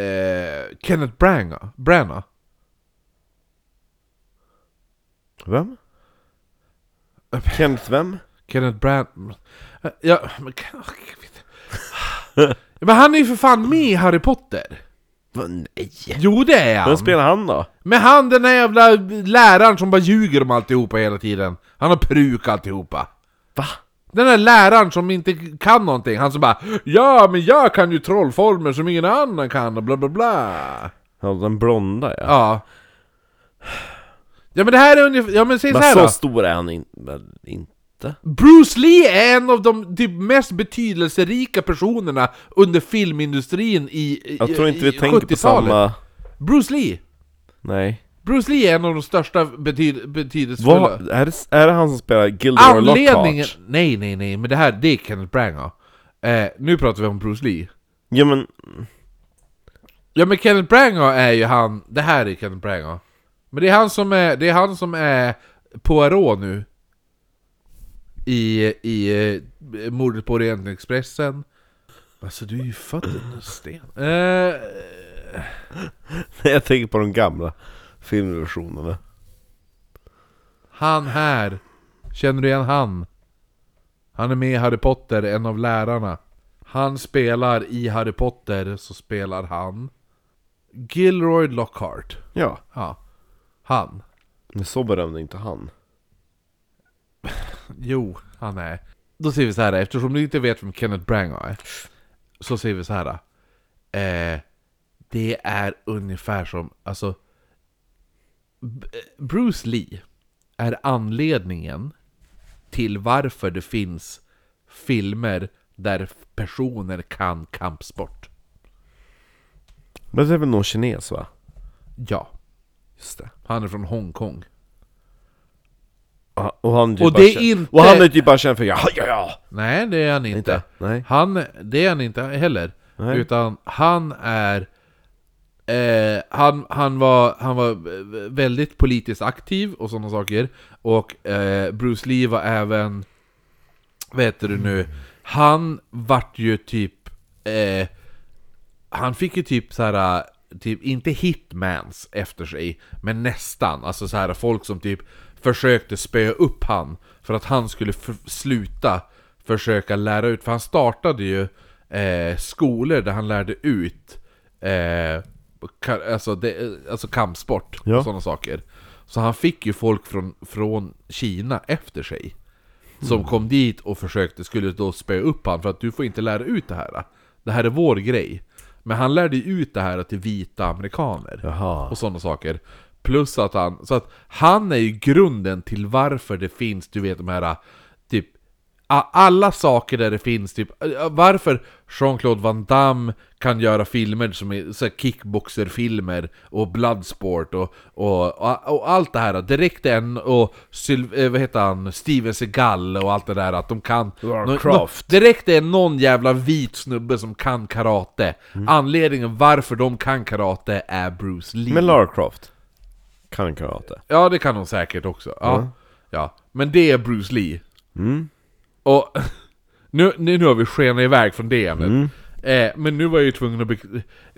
S2: Eh, Kenneth Branagh? Branagh?
S1: Vem? Kenneth vem?
S2: Kenneth Branagh? Eh, Ja, men, kan- jag vet inte. men han är ju för fan med i Harry Potter!
S1: Va, nej!
S2: Jo det är han!
S1: Vem spelar han då?
S2: Men han den där jävla läraren som bara ljuger om alltihopa hela tiden. Han har pruk alltihopa.
S1: Va?
S2: Den där läraren som inte kan någonting, han som bara Ja men jag kan ju trollformer som ingen annan kan och bla bla bla.
S1: Ja den blonda ja,
S2: Ja. Ja men det här är ungefär, ja men säg
S1: Men
S2: såhär
S1: så
S2: då.
S1: stor är han in, väl inte?
S2: Bruce Lee är en av de typ mest betydelserika personerna under filmindustrin i, i
S1: Jag tror inte vi
S2: i
S1: tänker på
S2: 70-talet.
S1: samma...
S2: Bruce Lee!
S1: Nej
S2: Bruce Lee är en av de största bety- betydelsefulla...
S1: Vad? Är, det- är det han som spelar Gilderoy
S2: Anledningen...
S1: Lockhart?
S2: Nej, nej, nej, men det här, det är Kenneth Branagh. Eh, nu pratar vi om Bruce Lee.
S1: Ja men,
S2: Ja men Kenneth Branagh är ju han, det här är Kenneth Branagh. Men det är han som är, det är han som är Poirot nu. I, i eh, mordet på Orientexpressen. Alltså du är ju född under sten. Eh,
S1: jag tänker på de gamla filmversionerna
S2: han här. Känner du igen han? Han är med i Harry Potter, en av lärarna. Han spelar i Harry Potter, så spelar han Gilroy Lockhart.
S1: Ja
S2: Ja, han.
S1: Men så berömde inte han
S2: Jo, han är. Då säger vi så här, eftersom du inte vet vem Kenneth Branagh är. Så säger vi så här. Eh, det är ungefär som, alltså... B- Bruce Lee är anledningen till varför det finns filmer där personer kan kampsport.
S1: Men det är väl någon kines va?
S2: Ja,
S1: Just det.
S2: han är från Hongkong.
S1: Och, och han, är typ
S2: Och
S1: bara
S2: det är
S1: känd-
S2: inte-
S1: och han är typ bara känd för ja, ja, ja.
S2: Nej, det är han inte.
S1: Inte? Nej.
S2: Han, det är han inte heller.
S1: Nej.
S2: Utan han är... Eh, han, han, var, han var eh, väldigt politiskt aktiv och sådana saker. Och eh, Bruce Lee var även... Vad heter det nu? Han vart ju typ... Eh, han fick ju typ så här typ inte hitmans efter sig, men nästan. Alltså så här folk som typ försökte spöa upp han för att han skulle f- sluta försöka lära ut. För han startade ju eh, skolor där han lärde ut eh, ka- alltså, det, alltså kampsport
S1: Ja.
S2: och sådana saker. Så han fick ju folk från, från Kina efter sig. Som kom dit och försökte, skulle då spöa upp han för att du får inte lära ut det här. Det här är vår grej. Men han lärde ju ut det här till vita amerikaner.
S1: Jaha.
S2: Och sådana saker. Plus att han, så att han är ju grunden till varför det finns, du vet de här, typ, a- alla saker där det finns, typ, varför Jean-Claude Van Damme kan göra filmer som är så här kickboxerfilmer och Bloodsport och, och, och, och allt det här, direkt en och Syl- eh, vad heter han, Steven Seagal och allt det där, att de kan...
S1: Lara
S2: nå- nå-
S1: Croft.
S2: Direkt är någon jävla vit snubbe som kan karate. Anledningen varför de kan karate är Bruce Lee.
S1: Men Lara Croft kan karate.
S2: Ja, det kan hon säkert också. Ja. ja. Men det är Bruce Lee. Och nu, nu, nu har vi skenat iväg från det ämnet. Eh, men nu var jag ju tvungen att... Be-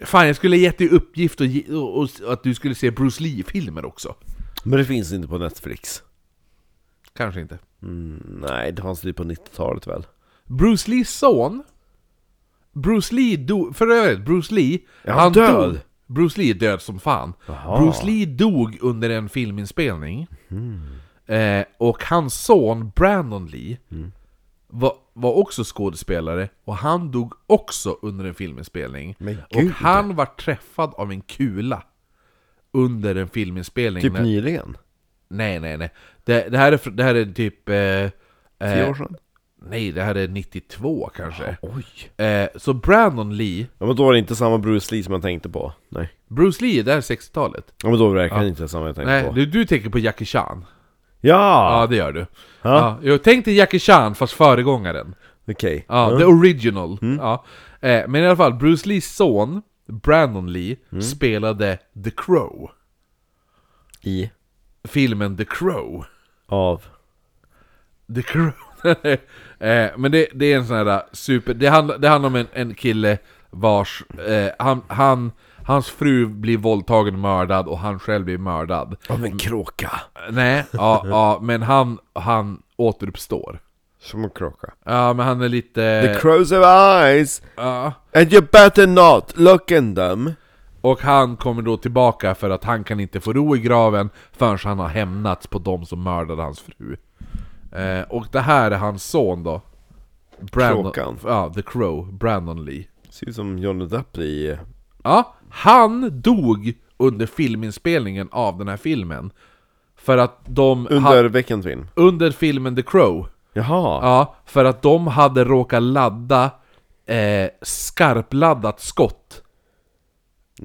S2: Fan, jag skulle ha gett dig uppgift och, ge- och, och, och att du skulle se Bruce Lee-filmer också.
S1: Men det finns inte på Netflix.
S2: Kanske inte.
S1: Nej, det fanns det på 90-talet väl?
S2: Bruce Lees son Bruce Lee dog, för övrigt, Bruce Lee
S1: Är han död?
S2: dog- Bruce Lee är död som fan
S1: Jaha.
S2: Bruce Lee dog under en filminspelning
S1: Hmm.
S2: eh, Och hans son Brandon Lee
S1: Hmm.
S2: var, var också skådespelare Och han dog också under en filminspelning
S1: Men
S2: Och
S1: gud.
S2: han var träffad av en kula Under en filminspelning
S1: Typ
S2: när-
S1: nyligen?
S2: Nej nej nej Det, det, här, är, fr- det här är typ eh,
S1: Tio
S2: eh,
S1: år sedan?
S2: Nej, det här är 92 kanske.
S1: Oj!
S2: Eh, så Brandon Lee,
S1: Ja men då var det inte samma Bruce Lee som jag tänkte på. Nej.
S2: Bruce Lee är där 60-talet.
S1: Ja men då var det verkligen inte samma jag tänkte
S2: Nej,
S1: på.
S2: du, du tänker på Jackie Chan.
S1: Ja!
S2: Ja, det gör du. Ja. jag tänkte Jackie Chan, fast föregångaren.
S1: Okej.
S2: Ja, the original. Ja. Eh, men i alla fall, Bruce Lees son, Brandon Lee, spelade The Crow.
S1: I?
S2: Filmen The Crow.
S1: Av?
S2: The Crow. eh, men det, det är en sån här äh, super... Det handlar, det handlar om en, en kille vars... Eh, han, han, hans fru blir våldtagen och mördad och han själv blir mördad.
S1: Av en kråka.
S2: Nej, ja, ja men han, han återuppstår.
S1: Som en kråka.
S2: Ja, men han är lite...
S1: The crows have eyes!
S2: Eh. ja.
S1: And you better not look in them!
S2: Och han kommer då tillbaka för att han kan inte få ro i graven förrän han har hämnats på de som mördade hans fru. Eh, och det här är hans son då.
S1: Kråkan.
S2: Ja, The Crow, Brandon Lee.
S1: Ser ut som Johnny Depp i...
S2: Ja, han dog under filminspelningen av den här filmen. För att de...
S1: Under vilken film?
S2: under filmen The Crow.
S1: Jaha!
S2: Ja, för att de hade råkat ladda eh, skarpladdat skott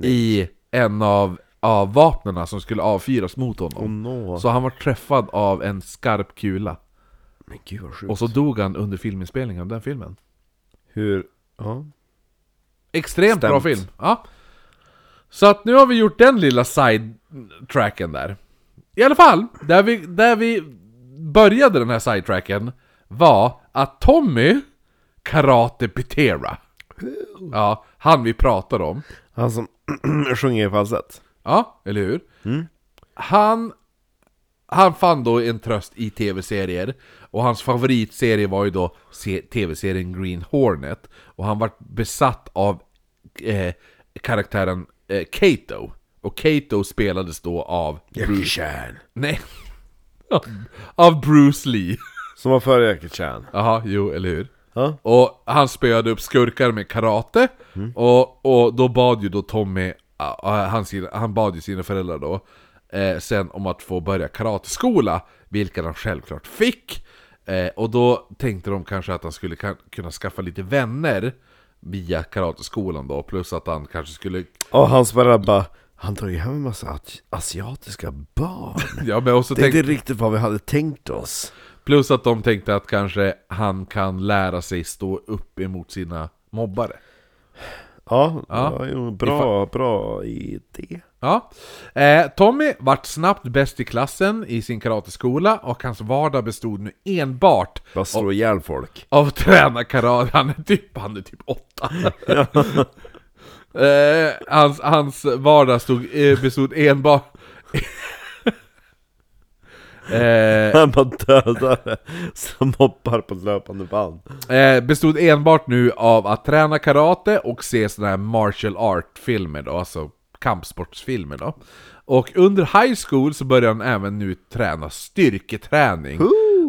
S2: i en av, av vapnen som skulle avfyras mot honom.
S1: Åh no.
S2: Så han var träffad av en skarp kula.
S1: Men gud vad sjukt.
S2: Och så dog han under filminspelningen av den filmen.
S1: Hur... Ja.
S2: Extremt bra
S1: Stämt.
S2: film! Ja. Så att nu har vi gjort den lilla sidetracken där. I alla fall, där vi, där vi började den här sidetracken var att Tommy Karate Pitera. Ja, han vi pratar om.
S1: Han som sjunger i falsett.
S2: Ja, eller hur? Han, han fann då en tröst i tv-serier Och hans favoritserie var ju då se- tv-serien Green Hornet Och han var besatt av eh, karaktären eh, Kato Och Kato spelades då av Bruce,
S1: Kärn.
S2: nej, av Bruce Lee
S1: Som var före Jackie Chan.
S2: Jaha, jo, eller hur?
S1: Ja. Mm.
S2: Och han spöade upp skurkar med karate, och, och då bad ju då Tommy, ah, ah, han, sina- han bad ju sina föräldrar då, eh, sen om att få börja karateskola, vilket han självklart fick. Eh, och då tänkte de kanske att han skulle kan, kunna skaffa lite vänner via karateskolan då, plus att han kanske skulle...
S1: Och hans föräldrar bara han tar ju hem en massa asi- asiatiska barn.
S2: Ja, men också
S1: Det är
S2: tänk,
S1: inte riktigt vad vi hade tänkt oss.
S2: plus att de tänkte att kanske han kan lära sig stå upp emot sina mobbare.
S1: Ja,
S2: Ja.
S1: ja jo, bra, bra idé.
S2: Ja. Eh, Tommy vart snabbt bäst i klassen i sin karateskola och hans vardag bestod nu enbart
S1: Bara slå ihjäl folk.
S2: av att träna karate. Han är typ, han är typ åtta. eh, hans, hans vardag stod, eh, bestod enbart... eh,
S1: Han bara dödar som hoppar på löpande band.
S2: Eh, bestod enbart nu av att träna karate och se såna här martial art-filmer då, alltså kampsportsfilmer då. Och under high school så började han även nu träna styrketräning.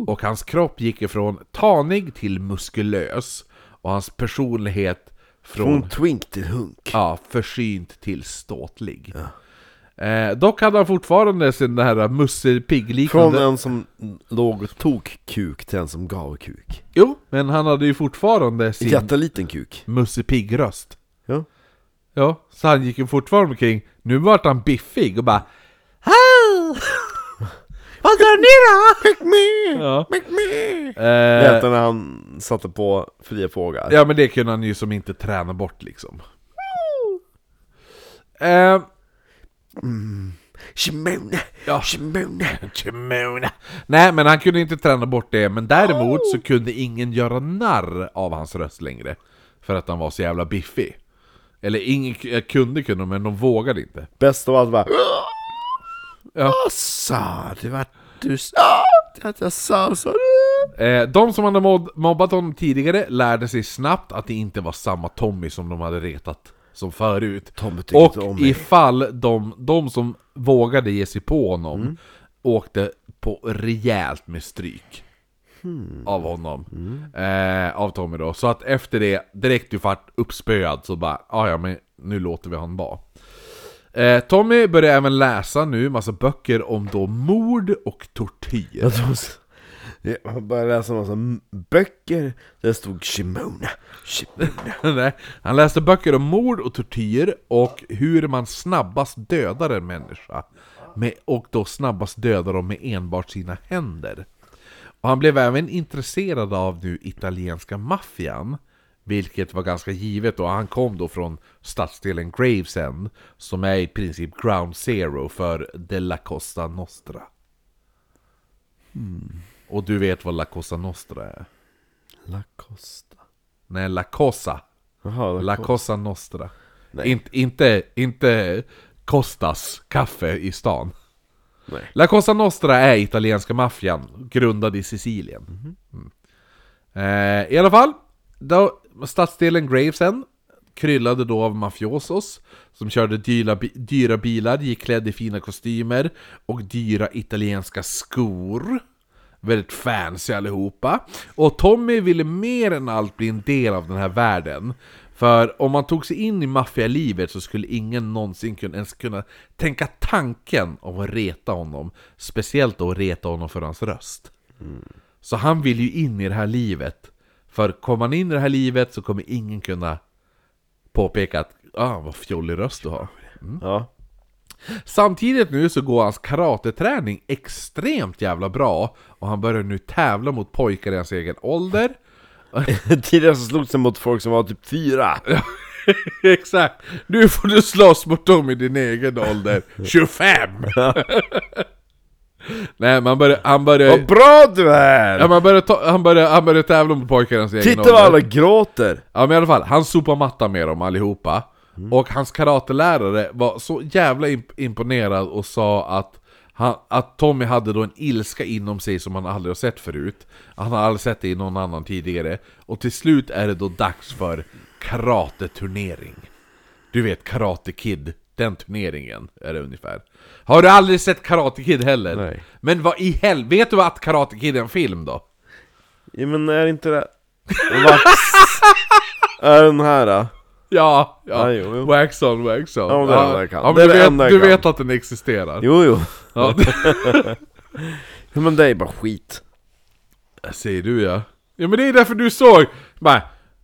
S2: Och hans kropp gick ifrån tanig till muskulös. Och hans personlighet från
S1: Från twink till hunk.
S2: Ja, försynt till ståtlig. Eh, dock hade han fortfarande sin där här
S1: Från
S2: mussepigg-liknande...
S1: en som låg och tog kuk till en som gav kuk.
S2: Jo, men han hade ju fortfarande sin
S1: Jätteliten kuk.
S2: Musse Pigg-röst.
S1: Ja.
S2: Ja, så han gick ju fortfarande omkring. Nu vart han biffig och bara
S1: Vad gör ni då? Pick me!
S2: ja.
S1: Pick me!
S2: Eh,
S1: Detta när han satte på fria fåglar.
S2: ja men det kunde han ju som inte träna bort liksom. Eh,
S1: Shimone!
S2: Ja.
S1: Shimone!
S2: Kimona. Nej men han kunde inte träna bort det, men däremot så kunde ingen göra narr av hans röst längre. För att han var så jävla biffig. Eller ingen k- kunde kunde men de vågade inte.
S1: Bäst av allt var...
S2: Ja.
S1: Vad sa du att du sa? Att jag sa så?
S2: Eh, de som hade mod- mobbat honom tidigare lärde sig snabbt att det inte var samma Tommy som de hade retat som förut.
S1: Tommy tyckte inte om
S2: Och
S1: mig.
S2: ifall de, de som vågade ge sig på honom
S1: Mm.
S2: åkte på rejält med stryk.
S1: Hmm.
S2: Av honom.
S1: Mm.
S2: Eh, av Tommy då. Så att efter det, direkt du vart uppspöad så bara "Ah, ja men nu låter vi han vara. Eh, Tommy börjar även läsa nu massa böcker om då mord och tortyr.
S1: Jag tror så. Jag började läsa en massa m- böcker där det stod Shimona. Shimona.
S2: Nej, han läste böcker om mord och tortyr och hur man snabbast dödar en människa. Med, och då snabbast dödar dem med enbart sina händer. Och han blev även intresserad av nu italienska maffian. Vilket var ganska givet och han kom då från stadsdelen Gravesend. Som är i princip ground zero för de la Costa Nostra. Och du vet vad la Costa Nostra är?
S1: La Costa.
S2: Nej, la Cosa.
S1: Jaha, La,
S2: La
S1: Costa.
S2: Cosa Nostra.
S1: Nej.
S2: In, inte, inte Costas kaffe i stan.
S1: Nej.
S2: La Cosa Nostra är italienska maffian, grundad i Sicilien. Mm. Eh, I alla fall, då, stadsdelen Gravesend kryllade då av mafiosos som körde dyra, bi- dyra bilar, gick klädd i fina kostymer och dyra italienska skor. Väldigt fancy allihopa. Och Tommy ville mer än allt bli en del av den här världen. För om man tog sig in i maffialivet så skulle ingen någonsin kun- ens kunna tänka tanken om att reta honom. Speciellt då att reta honom för hans röst. Så han vill ju in i det här livet. För kommer man in i det här livet så kommer ingen kunna påpeka att ah, vad fjollig röst du har.
S1: Ja.
S2: Samtidigt nu så går hans karateträning extremt jävla bra och han börjar nu tävla mot pojkar i hans egen ålder.
S1: Tidigare så slogs det mot folk som var typ fyra.
S2: Exakt! Nu får du slåss mot dem i din egen ålder, 25! Nej, man börjar, han börjar...
S1: Vad bra du är!
S2: Ja, man börjar ta, han, börjar, han börjar tävla mot pojkar i hans egen
S1: Titta
S2: ålder.
S1: vad alla gråter!
S2: Ja men i alla fall, han sopar matta med dem allihopa. Och hans karatelärare var så jävla imp- imponerad och sa att, han, att Tommy hade då en ilska inom sig som han aldrig har sett förut. Han har aldrig sett det i någon annan tidigare. Och till slut är det då dags för karateturnering. Du vet Karate Kid, den turneringen är det ungefär. Har du aldrig sett Karate Kid heller?
S1: Nej.
S2: Men vad i helvete, vet du att Karate Kid är en film då?
S1: Ja, men är inte det... Vax... är den här då?
S2: Ja, ja.
S1: Ja, jo, jo.
S2: Wax on, wax on.
S1: Ja, det är det enda jag kan.
S2: ja, men
S1: Det är
S2: du,
S1: det
S2: vet,
S1: enda jag
S2: du
S1: kan.
S2: vet att den existerar.
S1: Jo, jo.
S2: Ja.
S1: Ja, men det är bara skit.
S2: Säger du ja. Ja men det är därför du såg, bara,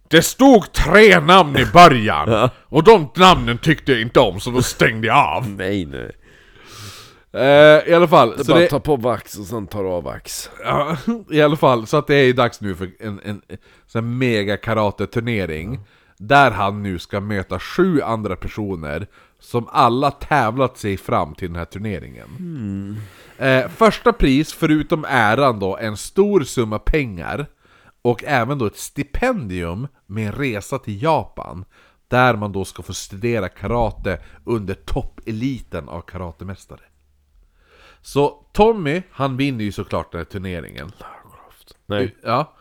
S2: det stod tre namn i början, och de namnen tyckte jag inte om så då stängde jag av.
S1: Nej nu.
S2: Eh, I alla fall,
S1: Mm. Det är
S2: så
S1: bara
S2: det,
S1: att ta på vax och sen tar du av vax.
S2: ja, i alla fall, så att det är ju dags nu för en, en, en sån här mega karateturnering. Där han nu ska möta sju andra personer som alla tävlat sig fram till den här turneringen. Eh, första pris, förutom äran då, en stor summa pengar och även då ett stipendium med en resa till Japan där man då ska få studera karate under toppeliten av karatemästare. Så Tommy, han vinner ju såklart den här turneringen.
S1: Nej. Mhm.
S2: Ja.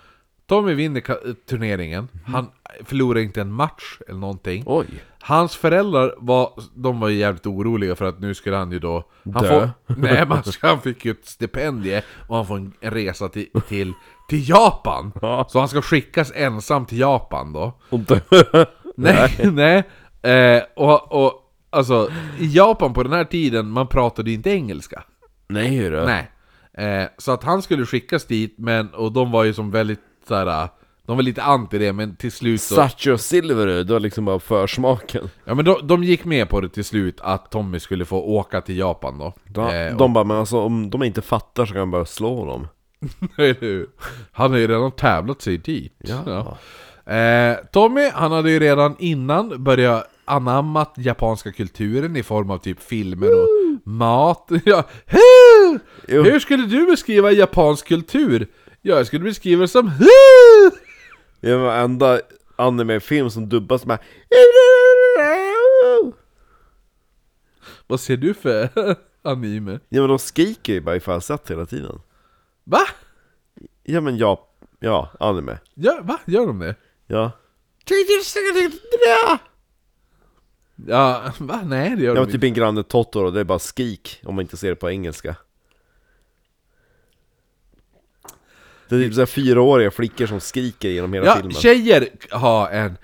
S2: Tommy vinner ka- turneringen, han förlorar inte en match eller någonting.
S1: Oj.
S2: Hans föräldrar var, de var ju jävligt oroliga för att nu skulle han ju då... Han
S1: Dö.
S2: Får, nej, man, han fick ju ett stipendie och han får en resa till, till, till Japan!
S1: Ja.
S2: Så han ska skickas ensam till Japan då.
S1: Och dö.
S2: Nej, nej. Eh, och, och alltså, i Japan på den här tiden, man pratade ju inte engelska.
S1: Nej hörru.
S2: Nej. Eh, så att han skulle skickas dit, men, och de var ju som väldigt såhär... De var lite anti det, men till slut så...
S1: Satcho och silver du, du har liksom bara försmaken.
S2: Ja men de, de gick med på det till slut att Tommy skulle få åka till Japan då.
S1: De,
S2: Eh,
S1: de bara, men alltså om de inte fattar så kan man bara slå dem.
S2: eller hur? han har ju redan tävlat sig dit. Ja. Eh, Tommy, han hade ju redan innan börjat anammat japanska kulturen i form av typ filmer och mat. ja, "Hu!
S1: Jo.
S2: Hur skulle du beskriva japansk kultur? Ja, jag skulle beskriva det som Hu!
S1: Det är varenda animefilm som dubbas med
S2: Vad ser du för anime?
S1: Ja men de skriker ju bara i falsett hela tiden.
S2: Va?
S1: Ja men ja, ja, anime.
S2: Ja, va? Gör de det?
S1: Ja.
S2: Ja, va? Nej, det gör
S1: Jag
S2: de
S1: var typ en granne Totoro, det är bara skrik om man inte ser det på engelska. Det är typ såhär fyraåriga flickor som skriker genom hela
S2: Ja,
S1: filmen.
S2: tjejer har en...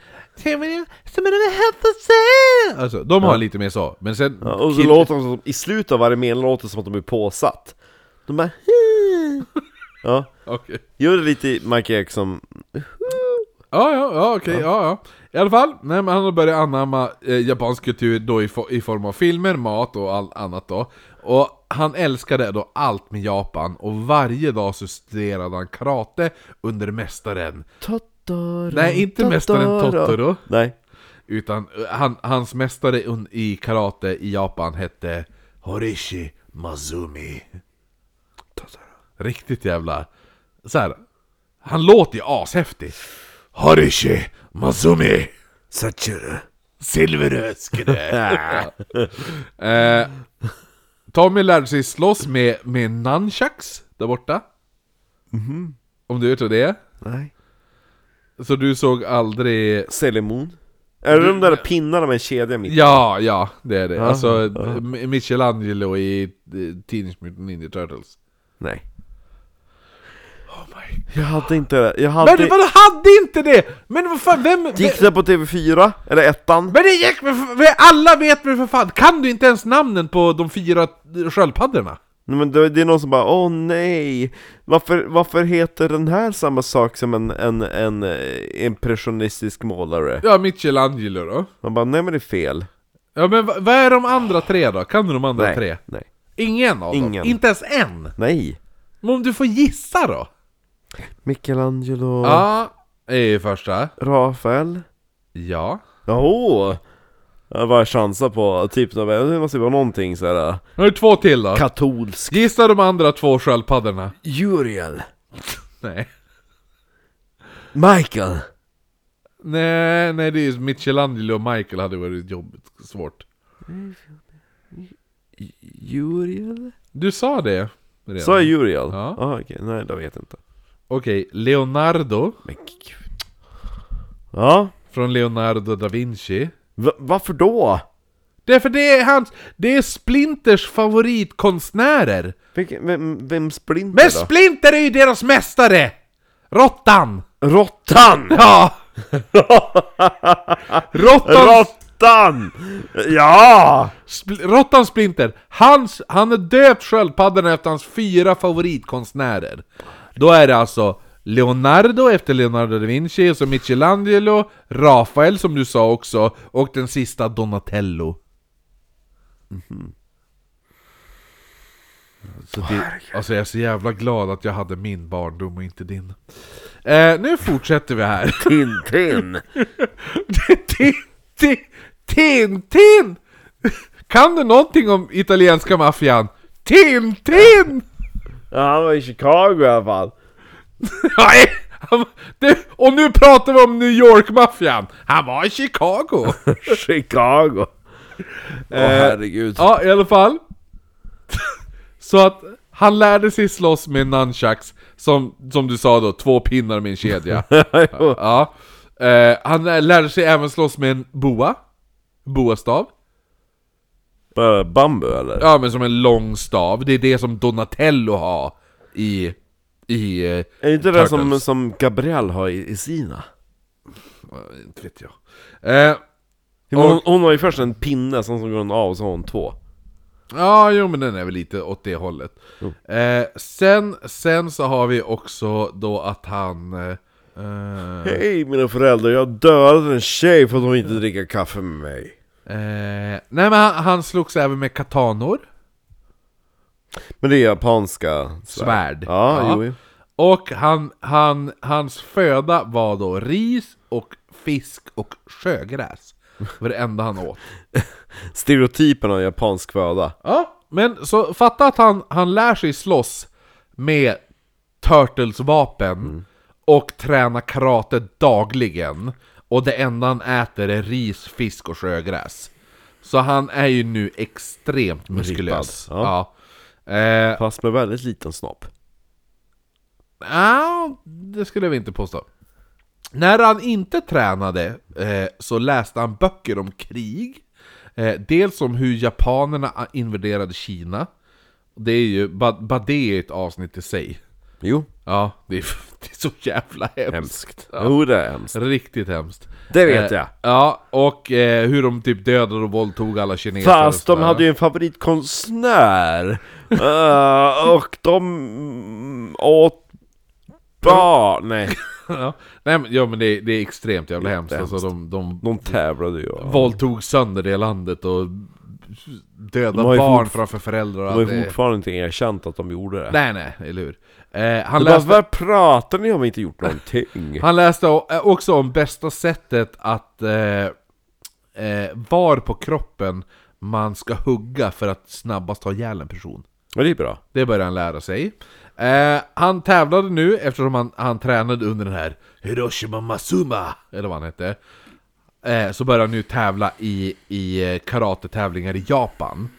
S2: Alltså, de har lite mer så, men sen...
S1: Ja, och så
S2: kill-
S1: låter de som, i slutet av varje mening låter det som att de är påsatt. De bara Ja,
S2: Okej.
S1: gör det lite i Michael Jackson.
S2: Ja, ja, ja, okej, ja. ja, I alla fall, nej, men han har börjat anamma eh, japansk kultur då i, fo- i form av filmer, mat och allt annat då. Och han älskade då allt med Japan, och varje dag så studerade han karate under mästaren.
S1: Totoro,
S2: Nej, inte mästaren Totoro,
S1: Nej,
S2: utan eh, han, hans mästare un- i karate i Japan hette Horishi Mazumi. Riktigt jävla... Så här. Han låter ju ashäftig. Harishi Mazumi
S1: Satchuru.
S2: Silveröskede. eh, Tommy lärde sig slåss med, med nunchucks där borta. Om du vet vad det är.
S1: Nej.
S2: Så du såg aldrig...
S1: Selimon. Är det de där pinnarna med en kedja mitt?
S2: Ja, ja, det är det. Alltså M- Michelangelo i eh, Teenage Mutant Ninja Turtles.
S1: Nej.
S2: Oh my.
S1: Jag hade inte det. Jag hade...
S2: Men vadå, hade inte det? Men vad fan, vem...
S1: Gick det på TV4? Eller ettan?
S2: Men det gick men för- men alla vet väl för fan, kan du inte ens namnen på de fyra eh, sköldpaddorna?
S1: Nej, men det, det är någon som bara åh nej, varför, varför heter den här samma sak som en, en, en eh, impressionistisk målare?
S2: Ja, Michelangelo då.
S1: Man bara nej men det är fel.
S2: Ja men va- vad är de andra tre då? Kan du de andra
S1: Nej,
S2: tre?
S1: nej,
S2: Ingen av
S1: Ingen.
S2: dem? Inte ens en?
S1: nej.
S2: Men om du får gissa då?
S1: Michelangelo,
S2: Ja, det är ju första.
S1: Rafael.
S2: Ja.
S1: Jaha! Jag bara chansar på, typ, det måste ju vara någonting såhär
S2: Nu har du två till då.
S1: katolsk.
S2: Gissa de andra två sköldpaddorna.
S1: Uriel.
S2: Nej.
S1: Michael.
S2: Nej, nej det är ju Michelangelo och Michael hade varit jobbigt, svårt.
S1: Uriel?
S2: Du sa det redan.
S1: Sa jag Uriel?
S2: Ja.
S1: Ah, okej, nej då vet jag inte.
S2: Okej, Leonardo
S1: Men gud. Ja,
S2: från Leonardo da Vinci.
S1: Va- varför då?
S2: Därför det är hans, det är Splinters favoritkonstnärer!
S1: Vilken, vem, vem Splinter
S2: Men
S1: då?
S2: Splinter är ju deras mästare! Råttan!
S1: Råttan!
S2: Ja! Råttan!
S1: Råttan! Ja!
S2: Spl- Råttan Splinter, hans, han är döpt sköldpaddorna efter hans fyra favoritkonstnärer. Då är det alltså Leonardo efter Leonardo da Vinci, och så Michelangelo, Rafael som du sa också, och den sista Donatello. Så det, alltså jag är så jävla glad att jag hade min barndom och inte din. Eh, nu fortsätter vi här.
S1: Tintin!
S2: Tintin! Tintin! Kan du någonting om italienska maffian? Tintin!
S1: Ja, han var i Chicago i alla fall.
S2: Nej! han- det- Och nu pratar vi om New York-maffian! Han var i Chicago!
S1: Chicago! Eh, Åh herregud.
S2: Ja, i alla fall. Så att han lärde sig slåss med nunchucks, som, som du sa då, två pinnar med en kedja.
S1: Jo.
S2: Ja. Eh, han lärde sig även slåss med en boa. Boastav.
S1: Bara Bambu eller?
S2: Ja men som en lång stav, det är det som Donatello har i... I... eh,
S1: Är inte det som,
S2: Turtles.
S1: som Gabrielle har i, i sina?
S2: Inte vet jag. Eh,
S1: Hon, hon har ju först en pinne, sen så går hon av och så har hon två.
S2: ja, jo men den är väl lite åt det hållet. Eh, sen, sen så har vi också då att han... Eh, eh,
S1: Hej mina föräldrar, jag dödade en tjej för att hon inte dricker kaffe med mig.
S2: eh, nej men han, han slogs även med katanor.
S1: Men det är japanska
S2: Svärd.
S1: Ja, jo, jo.
S2: Och han, han, hans föda var då ris och fisk och sjögräs. Det var det enda han åt.
S1: Stereotypen av japansk föda.
S2: Ja, men så fatta att han, han lär sig slåss med Turtles vapen och träna karate dagligen. Och det enda han äter är ris, fisk och sjögräs. Så han är ju nu extremt muskulös.
S1: Rippad,
S2: Ja. Eh,
S1: Fast med väldigt liten snopp.
S2: ah, det skulle jag inte påstå. När han inte tränade eh, så läste han böcker om krig. Eh, dels om hur japanerna invaderade Kina. Det är ju, bara, bara det är ett avsnitt i sig.
S1: Jo,
S2: Ja, det är, det är så jävla hemskt.
S1: hemskt.
S2: Ja.
S1: Jo, det är hemskt.
S2: Riktigt hemskt.
S1: Det vet
S2: Eh,
S1: jag.
S2: Ja, och eh, hur de typ dödade och våldtog alla kineser.
S1: Fast
S2: och
S1: de
S2: sådär.
S1: hade ju en favoritkonstnär. Eh, och de mm, åt barn. Nej,
S2: ja. Nej, men, ja, men det, det är extremt jävla hemskt.
S1: Jättehemskt.
S2: Alltså, de, de
S1: de tävlade ju. och-
S2: våldtog sönder det landet och
S1: De
S2: dödade
S1: har ju
S2: barn
S1: fortfar-
S2: framför föräldrar.
S1: De
S2: och
S1: har
S2: allt
S1: ju
S2: det.
S1: fortfarande inte erkänt att de gjorde det.
S2: Nej, nej, eller hur. Eh, han,
S1: De bara,
S2: läste,
S1: vad pratar ni om? Vi inte gjort någonting.
S2: han läste o- eh, också om bästa sättet att eh, eh, var på kroppen man ska hugga för att snabbast ta ihjäl en person.
S1: Men det är bra.
S2: Det började han lära sig. Eh, han tävlade nu eftersom han, han tränade under den här Hiroshima Masuma, eller vad han hette. Eh, så började han nu tävla i, i eh, karatetävlingar i Japan.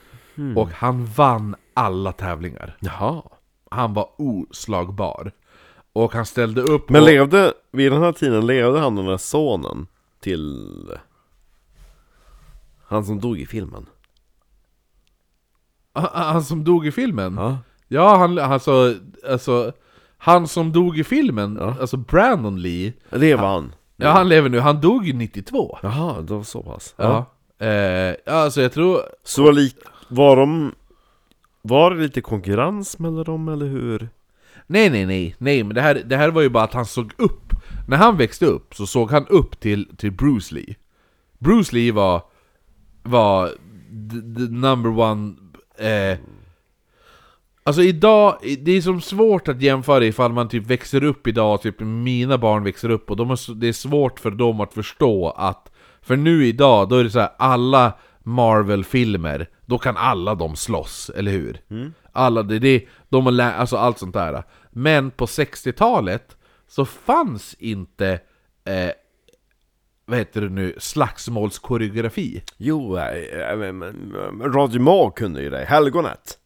S2: Och han vann alla tävlingar.
S1: Hmm. Jaha.
S2: Han var oslagbar. Och han ställde upp
S1: Men
S2: och,
S1: levde, vid den här tiden levde han den där sonen till... Han som dog i filmen.
S2: han, Ah, han som dog i filmen.
S1: Ja.
S2: Ja, han, alltså, alltså, han som dog i filmen, alltså Brandon Lee.
S1: Det var han.
S2: Ja, han lever nu. Han dog ju 92.
S1: Jaha, det var så pass.
S2: Ja. Eh, alltså jag tror...
S1: Så lik, var de... Var det lite konkurrens mellan dem eller hur?
S2: Nej, nej, nej, nej, men det här, det här var ju bara att han såg upp. När han växte upp så såg han upp till, till Bruce Lee. Bruce Lee var... Var the, the number one... Eh, Alltså idag, det är som svårt att jämföra ifall man typ växer upp idag, typ mina barn växer upp och de har, s- det är svårt för dem att förstå att För nu idag, då är det så här alla Marvel-filmer, då kan alla de slåss, eller hur? Alla, det, det, de har lä- alltså allt sånt där Men på 60-talet så fanns inte, eh, vad heter det nu, slagsmålskoreografi
S1: Jo, eh, Radio Mag kunde ju det. Helgonet.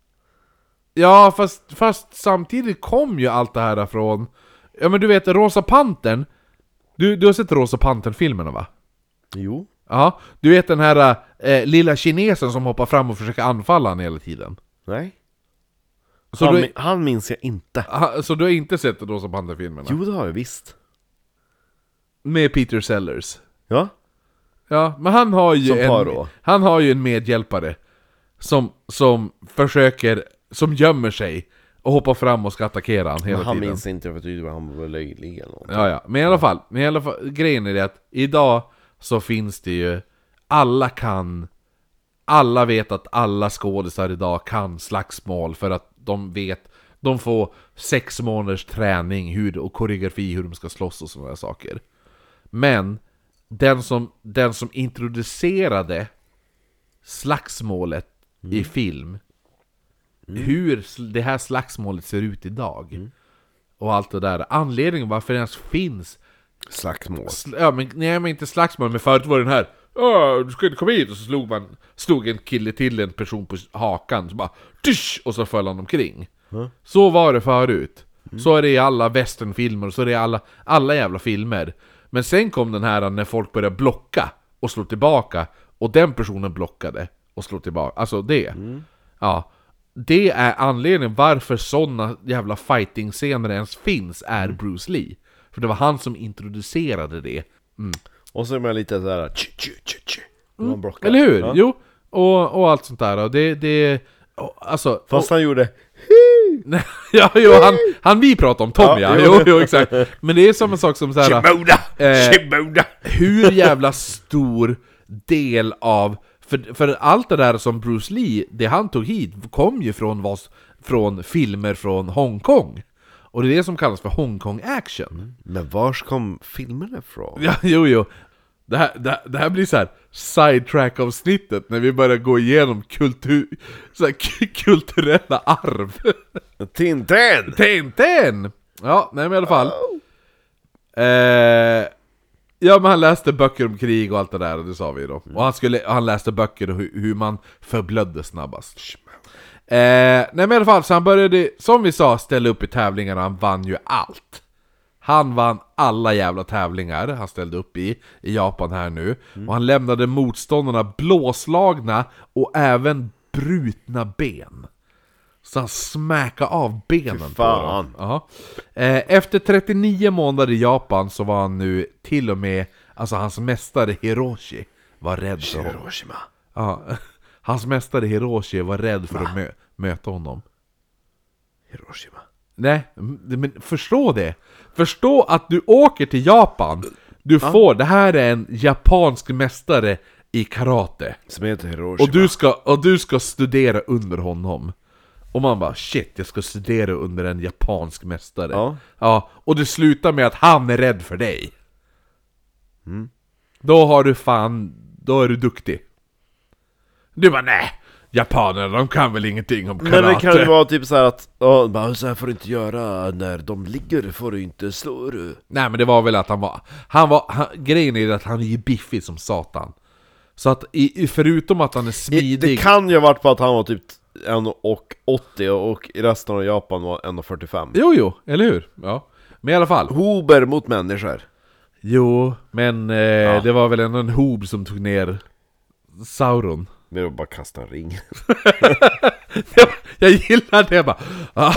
S2: Ja, fast, fast samtidigt kom ju allt det här från... Ja men du vet, Rosa Pantern du, du har sett Rosa Pantern-filmerna va?
S1: Jo.
S2: Ja, du vet den här eh, lilla kinesen som hoppar fram och försöker anfalla han hela tiden.
S1: Nej.
S2: Så,
S1: han,
S2: du,
S1: min- han minns jag inte.
S2: ha- så du har inte sett de Rosa-Panda-filmerna?
S1: Jo, det har jag visst.
S2: Med Peter Sellers.
S1: Ja,
S2: Ja, men han har ju
S1: Som
S2: en,
S1: Paro.
S2: han har ju en medhjälpare som, som försöker, som gömmer sig och hoppar fram och ska attackera han hela
S1: men han
S2: tiden.
S1: minns inte för tydligen han var löjlig eller något.
S2: Ja, ja. Men i alla fall, men i alla fall, grejen är det att idag så finns det ju, alla kan, alla vet att alla skådisar idag kan slagsmål för att de vet, de får sex månaders träning hur, och koreografi hur de ska slåss och sådana saker. Men den som, den som introducerade slagsmålet i film, hur sl- det här slagsmålet ser ut idag och allt det där. Anledningen varför det ens finns
S1: Slagsmål.
S2: sl- ja, men, nej, men inte slagsmål, men förut var det den här "Åh, du ska inte komma hit och så slog man slog en kille till en person på hakan så bara Tysch! och så föll han omkring. Så var det förut. Så är det i alla westernfilmer och så är det i alla, alla jävla filmer. Men sen kom den här när folk började blocka och slå tillbaka och den personen blockade och slog tillbaka. Alltså det. Ja. Det är anledningen varför sådana jävla fighting-scener ens finns är
S1: Mm.
S2: Bruce Lee. För det var han som introducerade det.
S1: Och så är man lite såhär... Tju, tju, tju, tju. Man blockar.
S2: Mm. Eller hur?
S1: Ja.
S2: Jo, och, och allt sånt där. Och det, det, och, alltså...
S1: Fast han gjorde...
S2: nej, ja, jo, han, han vi pratar om, Tom ja.
S1: Ja,
S2: Jo, jo, exakt. Men det är samma sak som så här.
S1: Shimoda!
S2: Eh,
S1: Shimoda!
S2: hur jävla stor del av... För, för allt det där som Bruce Lee, det han tog hit, kom ju från, vad, från filmer från Hongkong. Och det är det som kallas för Hongkong-action.
S1: Men vars kom filmerna ifrån?
S2: Ja, jo, jo. Det här, det, här- det här blir så här sidetrack-avsnittet när vi börjar gå igenom kultur, så här, k- kulturella arv.
S1: Tintin!
S2: Tintin! Ja, nej men i alla fall. Eh, ja, men han läste böcker om krig och allt det där, och det sa vi ju då. Och han, skulle, han läste böcker om hur, hur man förblödde snabbast. Eh, nej men i alla fall, så han började, som vi sa, ställa upp i tävlingar och han vann ju allt. Han vann alla jävla tävlingar han ställde upp i, i Japan här nu. Och han lämnade motståndarna blåslagna och även brutna ben. Så han smäckade av benen på dem.
S1: fan.
S2: Ja. Eh, efter 39 månader i Japan så var han nu till och med, alltså hans mästare Hiroshi var rädd för honom.
S1: Hiroshima.
S2: Ja. Hans mästare Hiroshi var rädd för att mö möta honom.
S1: Hiroshima.
S2: Nej, m- men förstå det! Förstå att du åker till Japan, du får, det här är en japansk mästare i karate.
S1: Som heter Hiroshima.
S2: Och du, ska, och du ska studera under honom. Och man bara shit, jag ska studera under en japansk mästare.
S1: Ja.
S2: ja och det slutar med att han är rädd för dig.
S1: Mm.
S2: Då har du fan, då är du duktig. Du bara nej, japanerna de kan väl ingenting om karate.
S1: Men det kan ju vara typ så här att, ja, bara, så här får du inte göra, när de ligger får du inte slå du.
S2: Nej men det var väl att han var... Han var han, grejen är att han är ju biffig som satan. Så att i, i- förutom att han är
S1: I-
S2: smidig...
S1: Det kan ju ha varit på att han var typ 1,80 och i resten av Japan var 1,45
S2: Jo jo, eller hur? Ja. Men i alla fall.
S1: Hober mot människor
S2: Jo, men eh, det var väl ändå en hob som tog ner Sauron.
S1: Det var bara kasta en ring
S2: jag gillar det jag bara. Ah,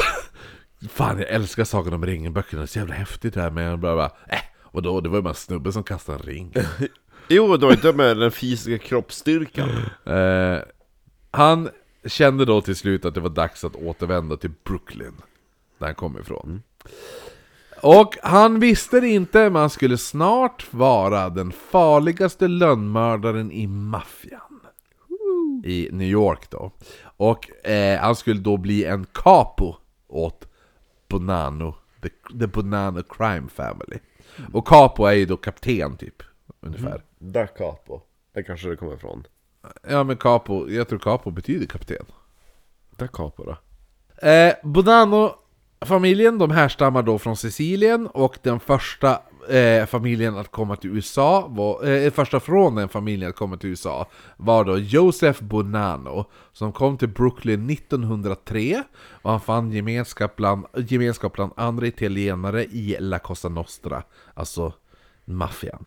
S2: fan, jag älskar Sagan om ringen-böckerna. Det är så jävla häftigt det här med... Jag Bara, bara, äh, och då, det var ju bara en snubbe som kastade en ring.
S1: Jo, det var inte med den fysiska kroppsstyrkan
S2: Eh, han kände då till slut att det var dags att återvända till Brooklyn, där han kom ifrån. Och han visste det inte, men han skulle snart vara den farligaste lönnmördaren i maffian. I New York då. Och eh, han skulle då bli en capo åt Bonanno, the, the Bonanno Crime Family. Och capo är ju då kapten typ, ungefär.
S1: Da capo Där kanske det kommer ifrån
S2: Ja men capo, jag tror capo betyder kapten.
S1: Da capo då?
S2: Eh, Bonanno-familjen, de härstammar då från Sicilien och den första eh, familjen att komma till USA, var, eh, första från den familjen att komma till USA var då Joseph Bonanno som kom till Brooklyn 1903 och han fann gemenskap bland, gemenskap bland andra italienare i La Cosa Nostra, alltså maffian.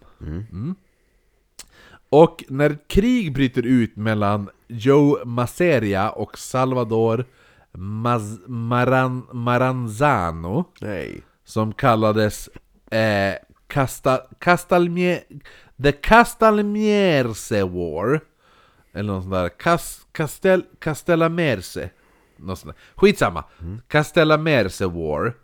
S2: Och när ett krig bryter ut mellan Joe Masseria och Salvador Maz, Maran, Maranzano
S1: Nej.
S2: som kallades eh, Casta, Castalmie, The Castalmierse War. Eller något sånt där. Cas, Castel, Castellamerse. Något sånt där. Skitsamma. Castellamerse War.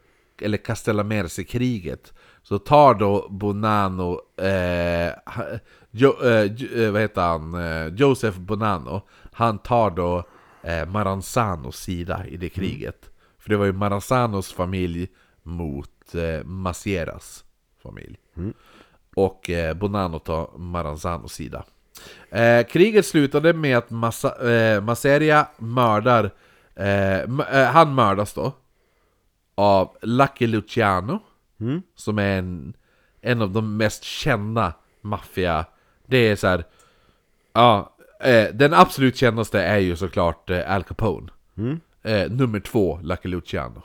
S2: Eller Castellamerse-kriget. Så tar då Bonanno, eh, ha- jo, eh, jo, eh, vad heter han? Eh, Joseph Bonanno. Han tar då eh, Maranzanos sida i det kriget. För det var ju Maranzanos familj mot eh, Macieras familj. Och eh, Bonanno tar Maranzanos sida. Eh, kriget slutade med att Massa, eh, Masseria mördar... Eh, m- eh, han mördas då. Av Lucky Luciano. Som är en, en av de mest kända maffia... Det är så här... Ja, eh, den absolut kändaste är ju såklart eh, Al Capone. Eh, nummer två, Lucky Luciano.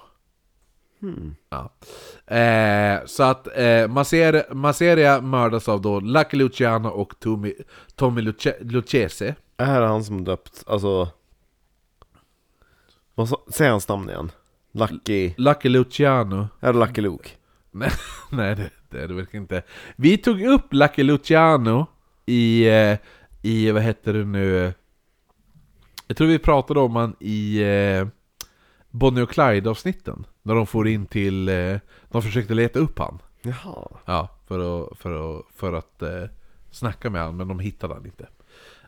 S2: Ja. Eh, så att eh, Maser, Maseria mördas av då Lucky Luciano och Tommy, Tommy Luce, Lucchese.
S1: Det här är han som döpt, alltså... Vad sa, säg hans namn igen. Lucky...
S2: Lucky Luciano.
S1: Är det Lucky Luke?
S2: Nej, nej det, det, det verkar inte. Vi tog upp Lucky Luciano i, eh, i, vad heter det nu? Jag tror vi pratade om han i eh, Bonnie och Clyde-avsnitten. När de får in till, eh, de försökte leta upp han.
S1: Jaha.
S2: Ja, för att, för att, för att eh, snacka med han men de hittade han inte.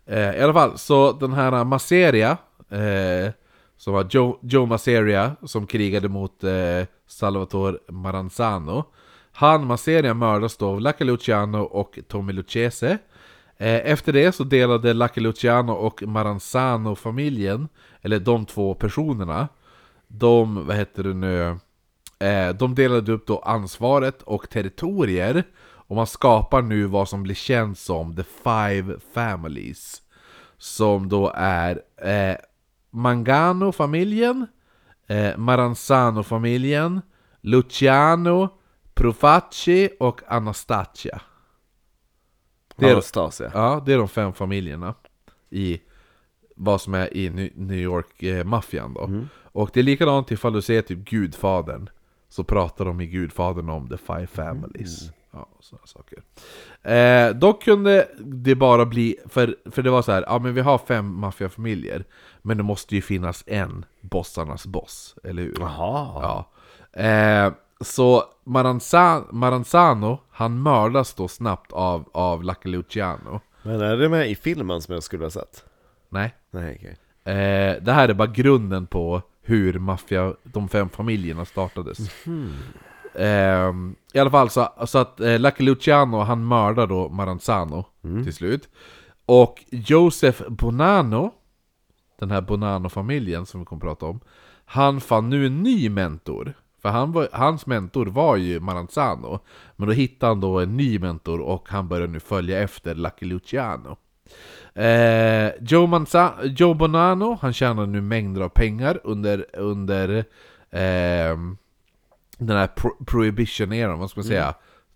S2: Eh, I alla fall, så den här Masseria, eh, som var Joe, Joe Masseria, som krigade mot eh, Salvatore Maranzano. Han, Masseria, mördas då av Lucky Luciano och Tommy Lucchese. Eh, efter det så delade Lucky Luciano och Maranzano-familjen, eller de två personerna, de, vad heter det nu, Eh, de delade upp då ansvaret och territorier och man skapar nu vad som blir känt som The Five Families. Som då är eh, Mangano-familjen, eh, Maranzano-familjen, Luciano, Profaci och Anastasia. Det är-
S1: Anastasia.
S2: Ja, det är de fem familjerna i vad som är i Ny- New York-maffian då. Och det är likadant ifall du ser typ Gudfadern. Så pratar de i Gudfadern om the five families. Ja, sådana saker. Eh, dock kunde det bara bli, för, för det var så här, ja men vi har fem maffiafamiljer. Men det måste ju finnas en bossarnas boss, eller hur?
S1: Jaha.
S2: Ja. Eh, så Maranzano, Maranzano, han mördas då snabbt av, av Lucky Luciano.
S1: Men är det med i filmen som jag skulle ha sett?
S2: Nej.
S1: Nej, okej.
S2: Eh, det här är bara grunden på hur maffia, de fem familjerna startades. Ehm, I alla fall så, så att eh, Lucky Luciano han mördar då Maranzano till slut. Och Josef Bonanno, den här Bonanno-familjen som vi kommer att prata om. Han fann nu en ny mentor. För han var, hans mentor var ju Maranzano. Men då hittade han då en ny mentor och han börjar nu följa efter Lucky Luciano. Eh, Joe, Manza, Joe Bonanno, han tjänar nu mängder av pengar under, under ehm, den här pro- prohibition-eran, vad ska man säga?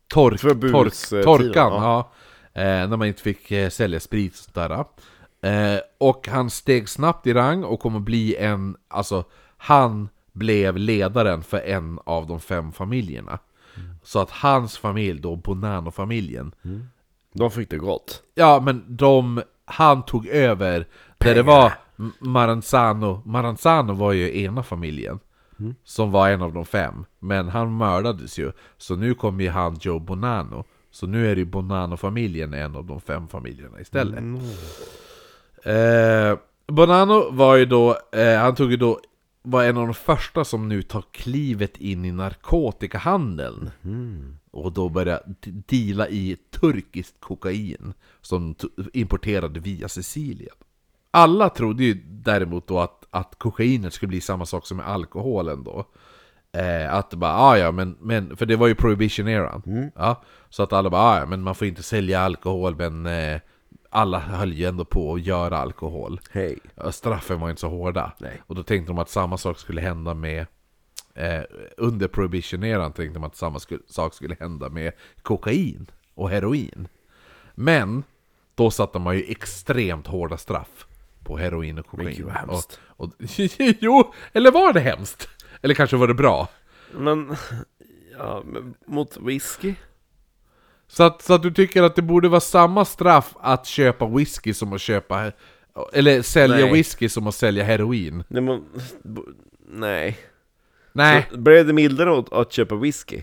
S2: Tork,
S1: Förbudstiden,
S2: tork, torkan,
S1: ja.
S2: ja. Eh, när man inte fick eh, sälja sprit och sådär. Eh, och han steg snabbt i rang och kommer bli en, alltså han blev ledaren för en av de fem familjerna. Så att hans familj då, Bonanno-familjen,
S1: De fick det gott.
S2: Ja, men de, han tog över där det var M- Maranzano. Maranzano var ju ena familjen. Som var en av de fem. Men han mördades ju. Så nu kommer ju han Joe Bonanno. Så nu är det ju Bonanno-familjen en av de fem familjerna istället. Eh, Bonanno var ju då, eh, han tog ju då, var en av de första som nu tar klivet in i narkotikahandeln. Och då började d- deala i turkiskt kokain som t- importerade via Sicilien. Alla trodde ju däremot då att, att kokainet skulle bli samma sak som med alkoholen då. Eh, att det bara, ah, ja men, men, för det var ju prohibition eran. Ja, så att alla bara, ah, ja men man får inte sälja alkohol men eh, alla höll ju ändå på att göra alkohol.
S1: Hej.
S2: Ja, Straffen var inte så hårda.
S1: Nej.
S2: Och då tänkte de att samma sak skulle hända med eh, Under prohibition-eran tänkte de att samma sku- sak skulle hända med kokain och heroin. Men då satte man ju extremt hårda straff på heroin och kokain.
S1: Men gud, vad hemskt.
S2: Och, och, jo, eller var det hemskt? Eller kanske var det bra?
S1: Men, ja, men mot whisky?
S2: Så att, så att du tycker att det borde vara samma straff att köpa whisky som att köpa... Eller sälja
S1: Nej.
S2: whisky som att sälja heroin?
S1: Nej, men, bo- nej.
S2: Nej,
S1: Så Blev det mildare att, att köpa whisky?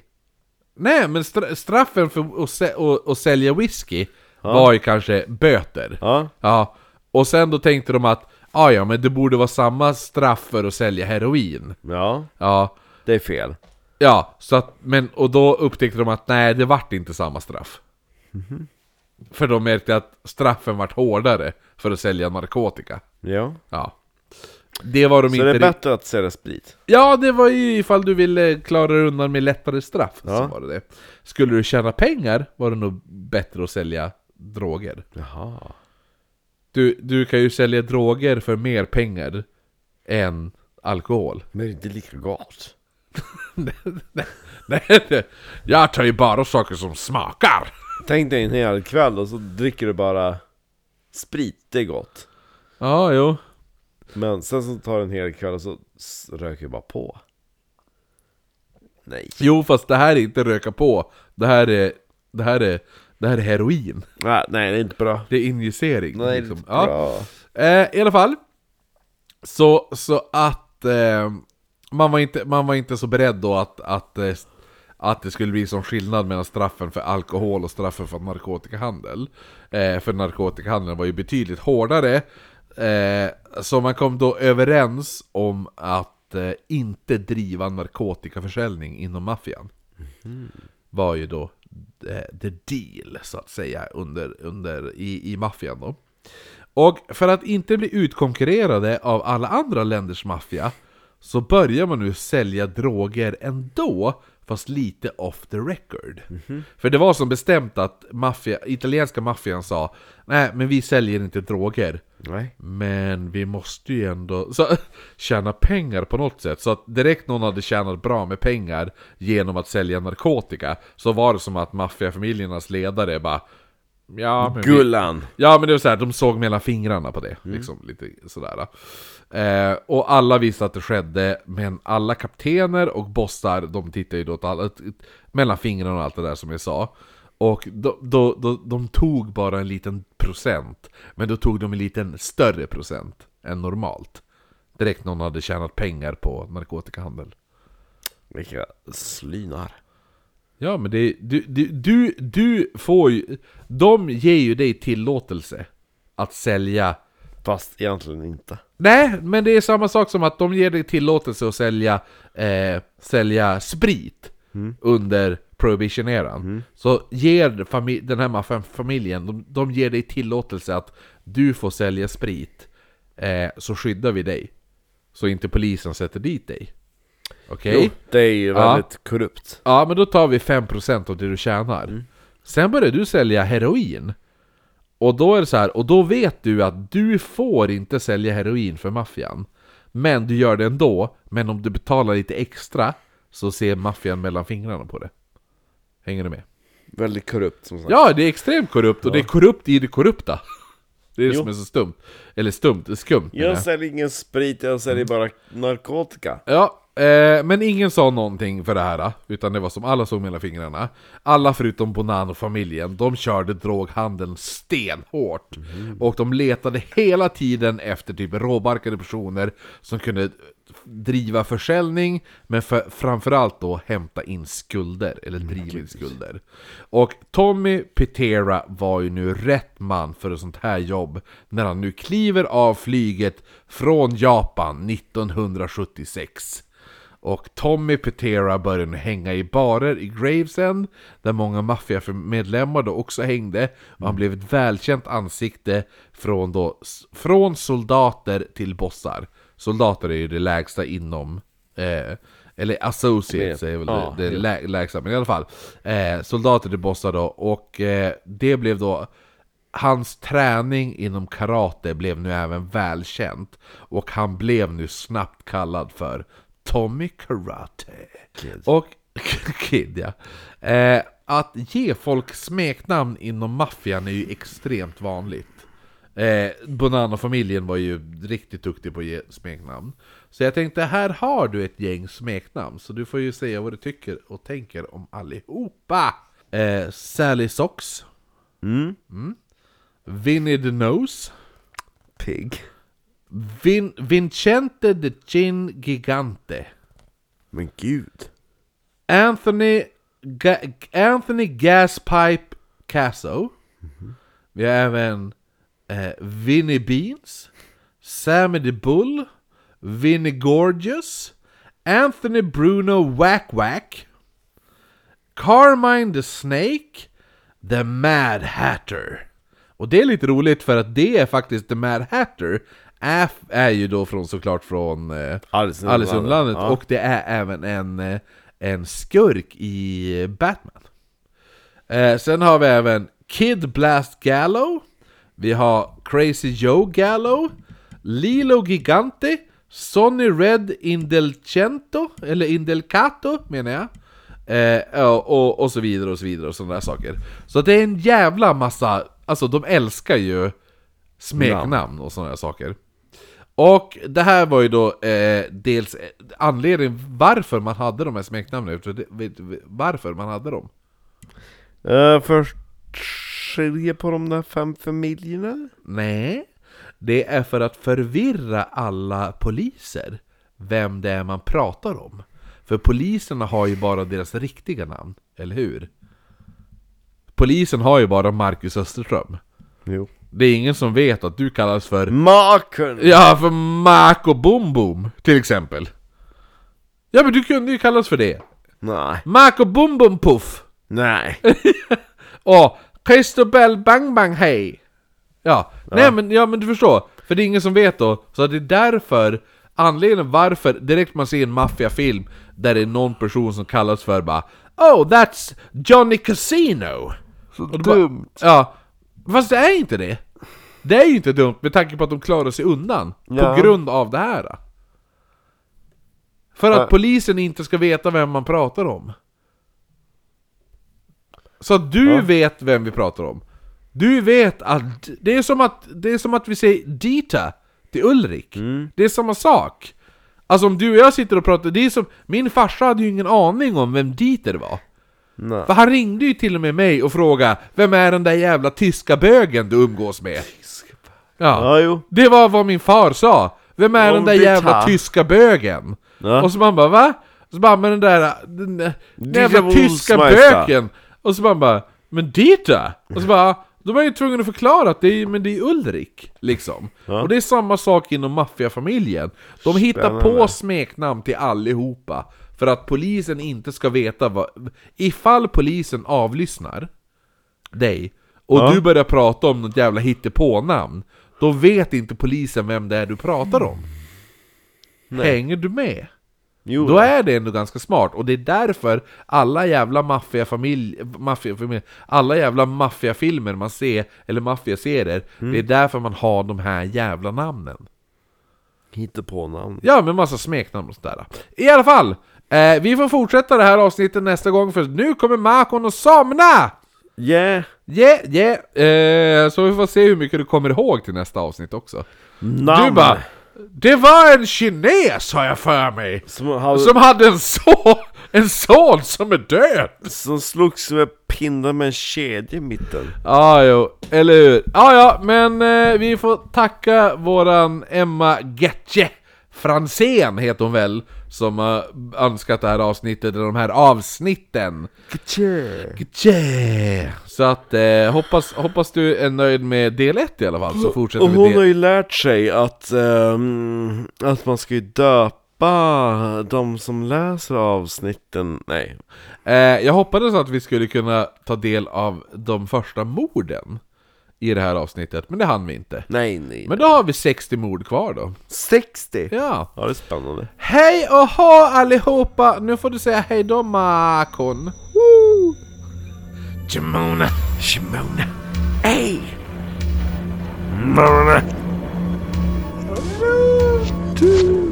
S2: nej men stra- straffen för att sä- och- och sälja whisky var ju kanske böter.
S1: Ja.
S2: Ja, och sen då tänkte de att ah, ja, men det borde vara samma straff för att sälja heroin.
S1: Ja,
S2: Ja,
S1: det är fel.
S2: ja så att, men, och då upptäckte de att nej, det vart inte samma straff.
S1: Mhm.
S2: För de märkte att straffen vart hårdare för att sälja narkotika.
S1: Ja.
S2: Ja. Det var de
S1: Så
S2: inte...
S1: det är
S2: rikt-
S1: bättre att sälja sprit?
S2: Ja, det var ju ifall du ville klara dig undan med lättare straff. Så
S1: Ja.
S2: var det det. Skulle du tjäna pengar var det nog bättre att sälja droger.
S1: Jaha.
S2: Du, du kan ju sälja droger för mer pengar än alkohol.
S1: Men det är inte lika gott.
S2: Nej, det- jag tar ju bara saker som smakar.
S1: Tänk dig en hel kväll och så dricker du bara sprit, det är gott.
S2: Ja, jo.
S1: Men sen så tar du en hel kväll och så s- röker du bara på. Nej.
S2: Jo, fast det här är inte röka på. Det här är, det här är, det här är heroin.
S1: Ah, nej, det är inte bra.
S2: Det är injicering.
S1: Nej, det är
S2: liksom.
S1: inte
S2: Ja.
S1: bra.
S2: Eh, I alla fall. Så, så att eh, man, var inte, man var inte så beredd då att, att, eh, att det skulle bli sån skillnad mellan straffen för alkohol och straffen för narkotikahandel. Eh, för narkotikahandeln var ju betydligt hårdare. Eh, så man kom då överens om att eh, inte driva narkotikaförsäljning inom maffian. Var ju då eh, the deal så att säga under, under, i, i maffian då. Och för att inte bli utkonkurrerade av alla andra länders maffia så börjar man nu sälja droger ändå, fast lite off the record. För det var som bestämt att maffia, italienska maffian sa Nej, men vi säljer inte droger.
S1: Nej.
S2: Men vi måste ju ändå så, tjäna pengar på något sätt. Så att direkt någon hade tjänat bra med pengar genom att sälja narkotika så var det som att maffiafamiljernas ledare bara Ja, men vi,
S1: Gullan.
S2: Ja men det var så här, de såg mellan fingrarna på det. Liksom, lite sådär. Eh, och alla visste att det skedde, men alla kaptener och bossar, de tittar ju då åt alla, mellan fingrarna och allt det där som jag sa. Och då, då, då, de tog bara en liten procent, men då tog de en liten större procent än normalt. Direkt någon hade tjänat pengar på narkotikahandel.
S1: Vilka slynar.
S2: Ja men det, du, du, du, du får ju, de ger ju dig tillåtelse att sälja
S1: Fast egentligen inte.
S2: Nej, men det är samma sak som att de ger dig tillåtelse att sälja, eh, sälja sprit under prohibition-eran. Så ger fami- den här maffa- familjen, de, de ger dig tillåtelse att du får sälja sprit, eh, så skyddar vi dig. Så inte polisen sätter dit dig. Okej?
S1: Jo, det är ju
S2: Ja.
S1: väldigt korrupt.
S2: Ja, men då tar vi 5% av det du tjänar. Sen börjar du sälja heroin. Och då är det så här, och då vet du att du får inte sälja heroin för maffian. Men du gör det ändå, men om du betalar lite extra så ser maffian mellan fingrarna på det. Hänger du med?
S1: Väldigt korrupt som sagt.
S2: Ja, det är extremt korrupt och det är korrupt i det korrupta. Det är det
S1: Jo.
S2: som är så stumt. Eller stumt, skumt. menar
S1: Jag säljer ingen sprit, jag säljer bara narkotika.
S2: Ja, eh, men ingen sa någonting för det här, ah. utan det var som alla såg mellan fingrarna. Alla förutom Bonanno-familjen, de körde droghandeln stenhårt. Och de letade hela tiden efter typ råbarkade personer som kunde driva försäljning, men för, framförallt då hämta in skulder, eller driva in skulder. Och Tommy Petera var ju nu rätt man för ett sånt här jobb när han nu kliver av flyget från Japan 1976. Och Tommy Petera började nu hänga i barer i Gravesend, där många maffiamedlemmar då också hängde. Och han blev ett välkänt ansikte från, då, s- från soldater till bossar. Soldater är ju det lägsta inom... Eh, eller associates är väl
S1: Ja,
S2: det, det lä, lägsta, men i alla fall. Eh, soldater till bossar då, och eh, det blev då... Hans träning inom karate blev nu även välkänt och han blev nu snabbt kallad för Tommy Karate. Och Kid, ja. Eh, att ge folk smeknamn inom maffian är ju extremt vanligt. Eh, Bonanno-familjen var ju riktigt duktig på att ge smeknamn. Så jag tänkte, här har du ett gäng smeknamn, så du får ju säga vad du tycker och tänker om allihopa! Eh, Sally Socks,
S1: Mm.
S2: Vinny the Nose,
S1: Pig.
S2: Vin- Vincente the Chin Gigante,
S1: Men gud.
S2: Anthony, Ga- Anthony Gaspipe Casso. Vi har även eh, Vinnie Beans, Sammy the Bull, Vinnie Gorgeous, Anthony Bruno Whack Whack, Carmine the Snake, The Mad Hatter. Och det är lite roligt för att det är faktiskt The Mad Hatter är, är ju då från såklart från eh,
S1: Alice i
S2: Alice i Underlandet
S1: Ja.
S2: och det är även en, eh, en skurk i Batman. Eh, sen har vi även Kid Blast Gallo, vi har Crazy Joe Gallo, Lilo Gigante, Sonny Red Indelcento, eller Indelcato menar jag. Eh, ja, och, och så vidare och så vidare och sådana där saker. Så det är en jävla massa, alltså de älskar ju smeknamn och sådana där saker. Och det här var ju då eh, dels eh, anledningen varför man hade de här smeknamnen, Vet du- vet du varför man hade dem.
S1: Eh, först skiljer på de där fem familjerna.
S2: Nej, det är för att förvirra alla poliser vem det är man pratar om. För poliserna har ju bara deras riktiga namn, eller hur? Polisen har ju bara Marcus Österström.
S1: Jo.
S2: Det är ingen som vet att du kallas för
S1: Maken!
S2: Ja, för Marco Boom Boom, till exempel. Ja, men du kunde ju kallas för det.
S1: Nej.
S2: Marco Boom Boom Puff!
S1: Nej.
S2: Och Christobel Bang Bang Hej! Ja. nej men, ja, men du förstår. För det är ingen som vet då. Så det är därför, anledningen varför, direkt man ser en maffiafilm där det är någon person som kallas för bara Oh, that's Johnny Casino!
S1: Så
S2: Och då bara-
S1: dumt.
S2: Ja, fast det är inte det. Det är ju inte dumt med tanke på att de klarar sig undan
S1: Ja.
S2: på grund av det här. För att
S1: Ja.
S2: polisen inte ska veta vem man pratar om. Så att du
S1: Ja.
S2: vet vem vi pratar om. Du vet att det är som att, det är som att vi säger Dita till Ulrik.
S1: Mm.
S2: Det är samma sak. Alltså om du och jag sitter och pratar, det är som, min farsa hade ju ingen aning om vem Dieter var.
S1: Nej.
S2: För han ringde ju till och med mig och frågade Vem är den där jävla tyska bögen du umgås med? Ja.
S1: Ja, jo.
S2: Det var vad min far sa Vem är
S1: Ja,
S2: den där
S1: det är
S2: jävla
S1: ta.
S2: tyska bögen?
S1: Ja.
S2: Och så man bara va? Så bara men den där den, där- den
S1: Dieter
S2: jävla tyska
S1: Wohlsmeister.
S2: bögen Och så man bara Men Dieter? Och så bara de är ju tvungna att förklara att det är, men det är Ulrik, liksom. Och det är samma sak inom maffiafamiljen. De hittar på
S1: Spännande.
S2: smeknamn till allihopa för att polisen inte ska veta vad... Ifall polisen avlyssnar dig och
S1: Ja.
S2: du börjar prata om något jävla hittepånamn då vet inte polisen vem det är du pratar om. Hänger du med?
S1: Jo.
S2: Då är det ändå ganska smart och det är därför alla jävla maffiafamilj, maffiafamilj, alla jävla maffiafilmer man ser, eller maffiaserier, det är därför man har de här jävla namnen.
S1: Hittar på namn.
S2: Ja, med massa smeknamn och sådär. I alla fall! Eh, vi får fortsätta det här avsnittet nästa gång för nu kommer Makon att somna!
S1: Yeah.
S2: Yeah, yeah! Eh, så vi får se hur mycket du kommer ihåg till nästa avsnitt också.
S1: Namn.
S2: Du bara Det var en kines har jag för mig!
S1: Som, hade, som...
S2: Som hade en son, en son som är död!
S1: slogs med pinnar med en kedja i mitten.
S2: Ja, jo, eller hur? Ja, ja, men eh, vi får tacka våran Emma Getche Fransén heter hon väl, som har önskat det här avsnittet, eller de här avsnitten. Getche! Så att, eh, hoppas, hoppas du är nöjd med del 1 i alla fall, så fortsätter
S1: Och
S2: vi
S1: hon
S2: del
S1: har ju lärt sig att, ehm, att man ska ju döpa de som läser avsnitten. Nej.
S2: Eh, jag hoppades att vi skulle kunna ta del av de första morden i det här avsnittet, men det hann vi inte.
S1: Nej, nej.
S2: Men då har vi 60 mord kvar då.
S1: 60!
S2: Ja.
S1: Ja, det är spännande.
S2: Hej och hå allihopa! Nu får du säga hej då Makon. Woo!
S1: Shimona, Shimona, hey! Mona. Two.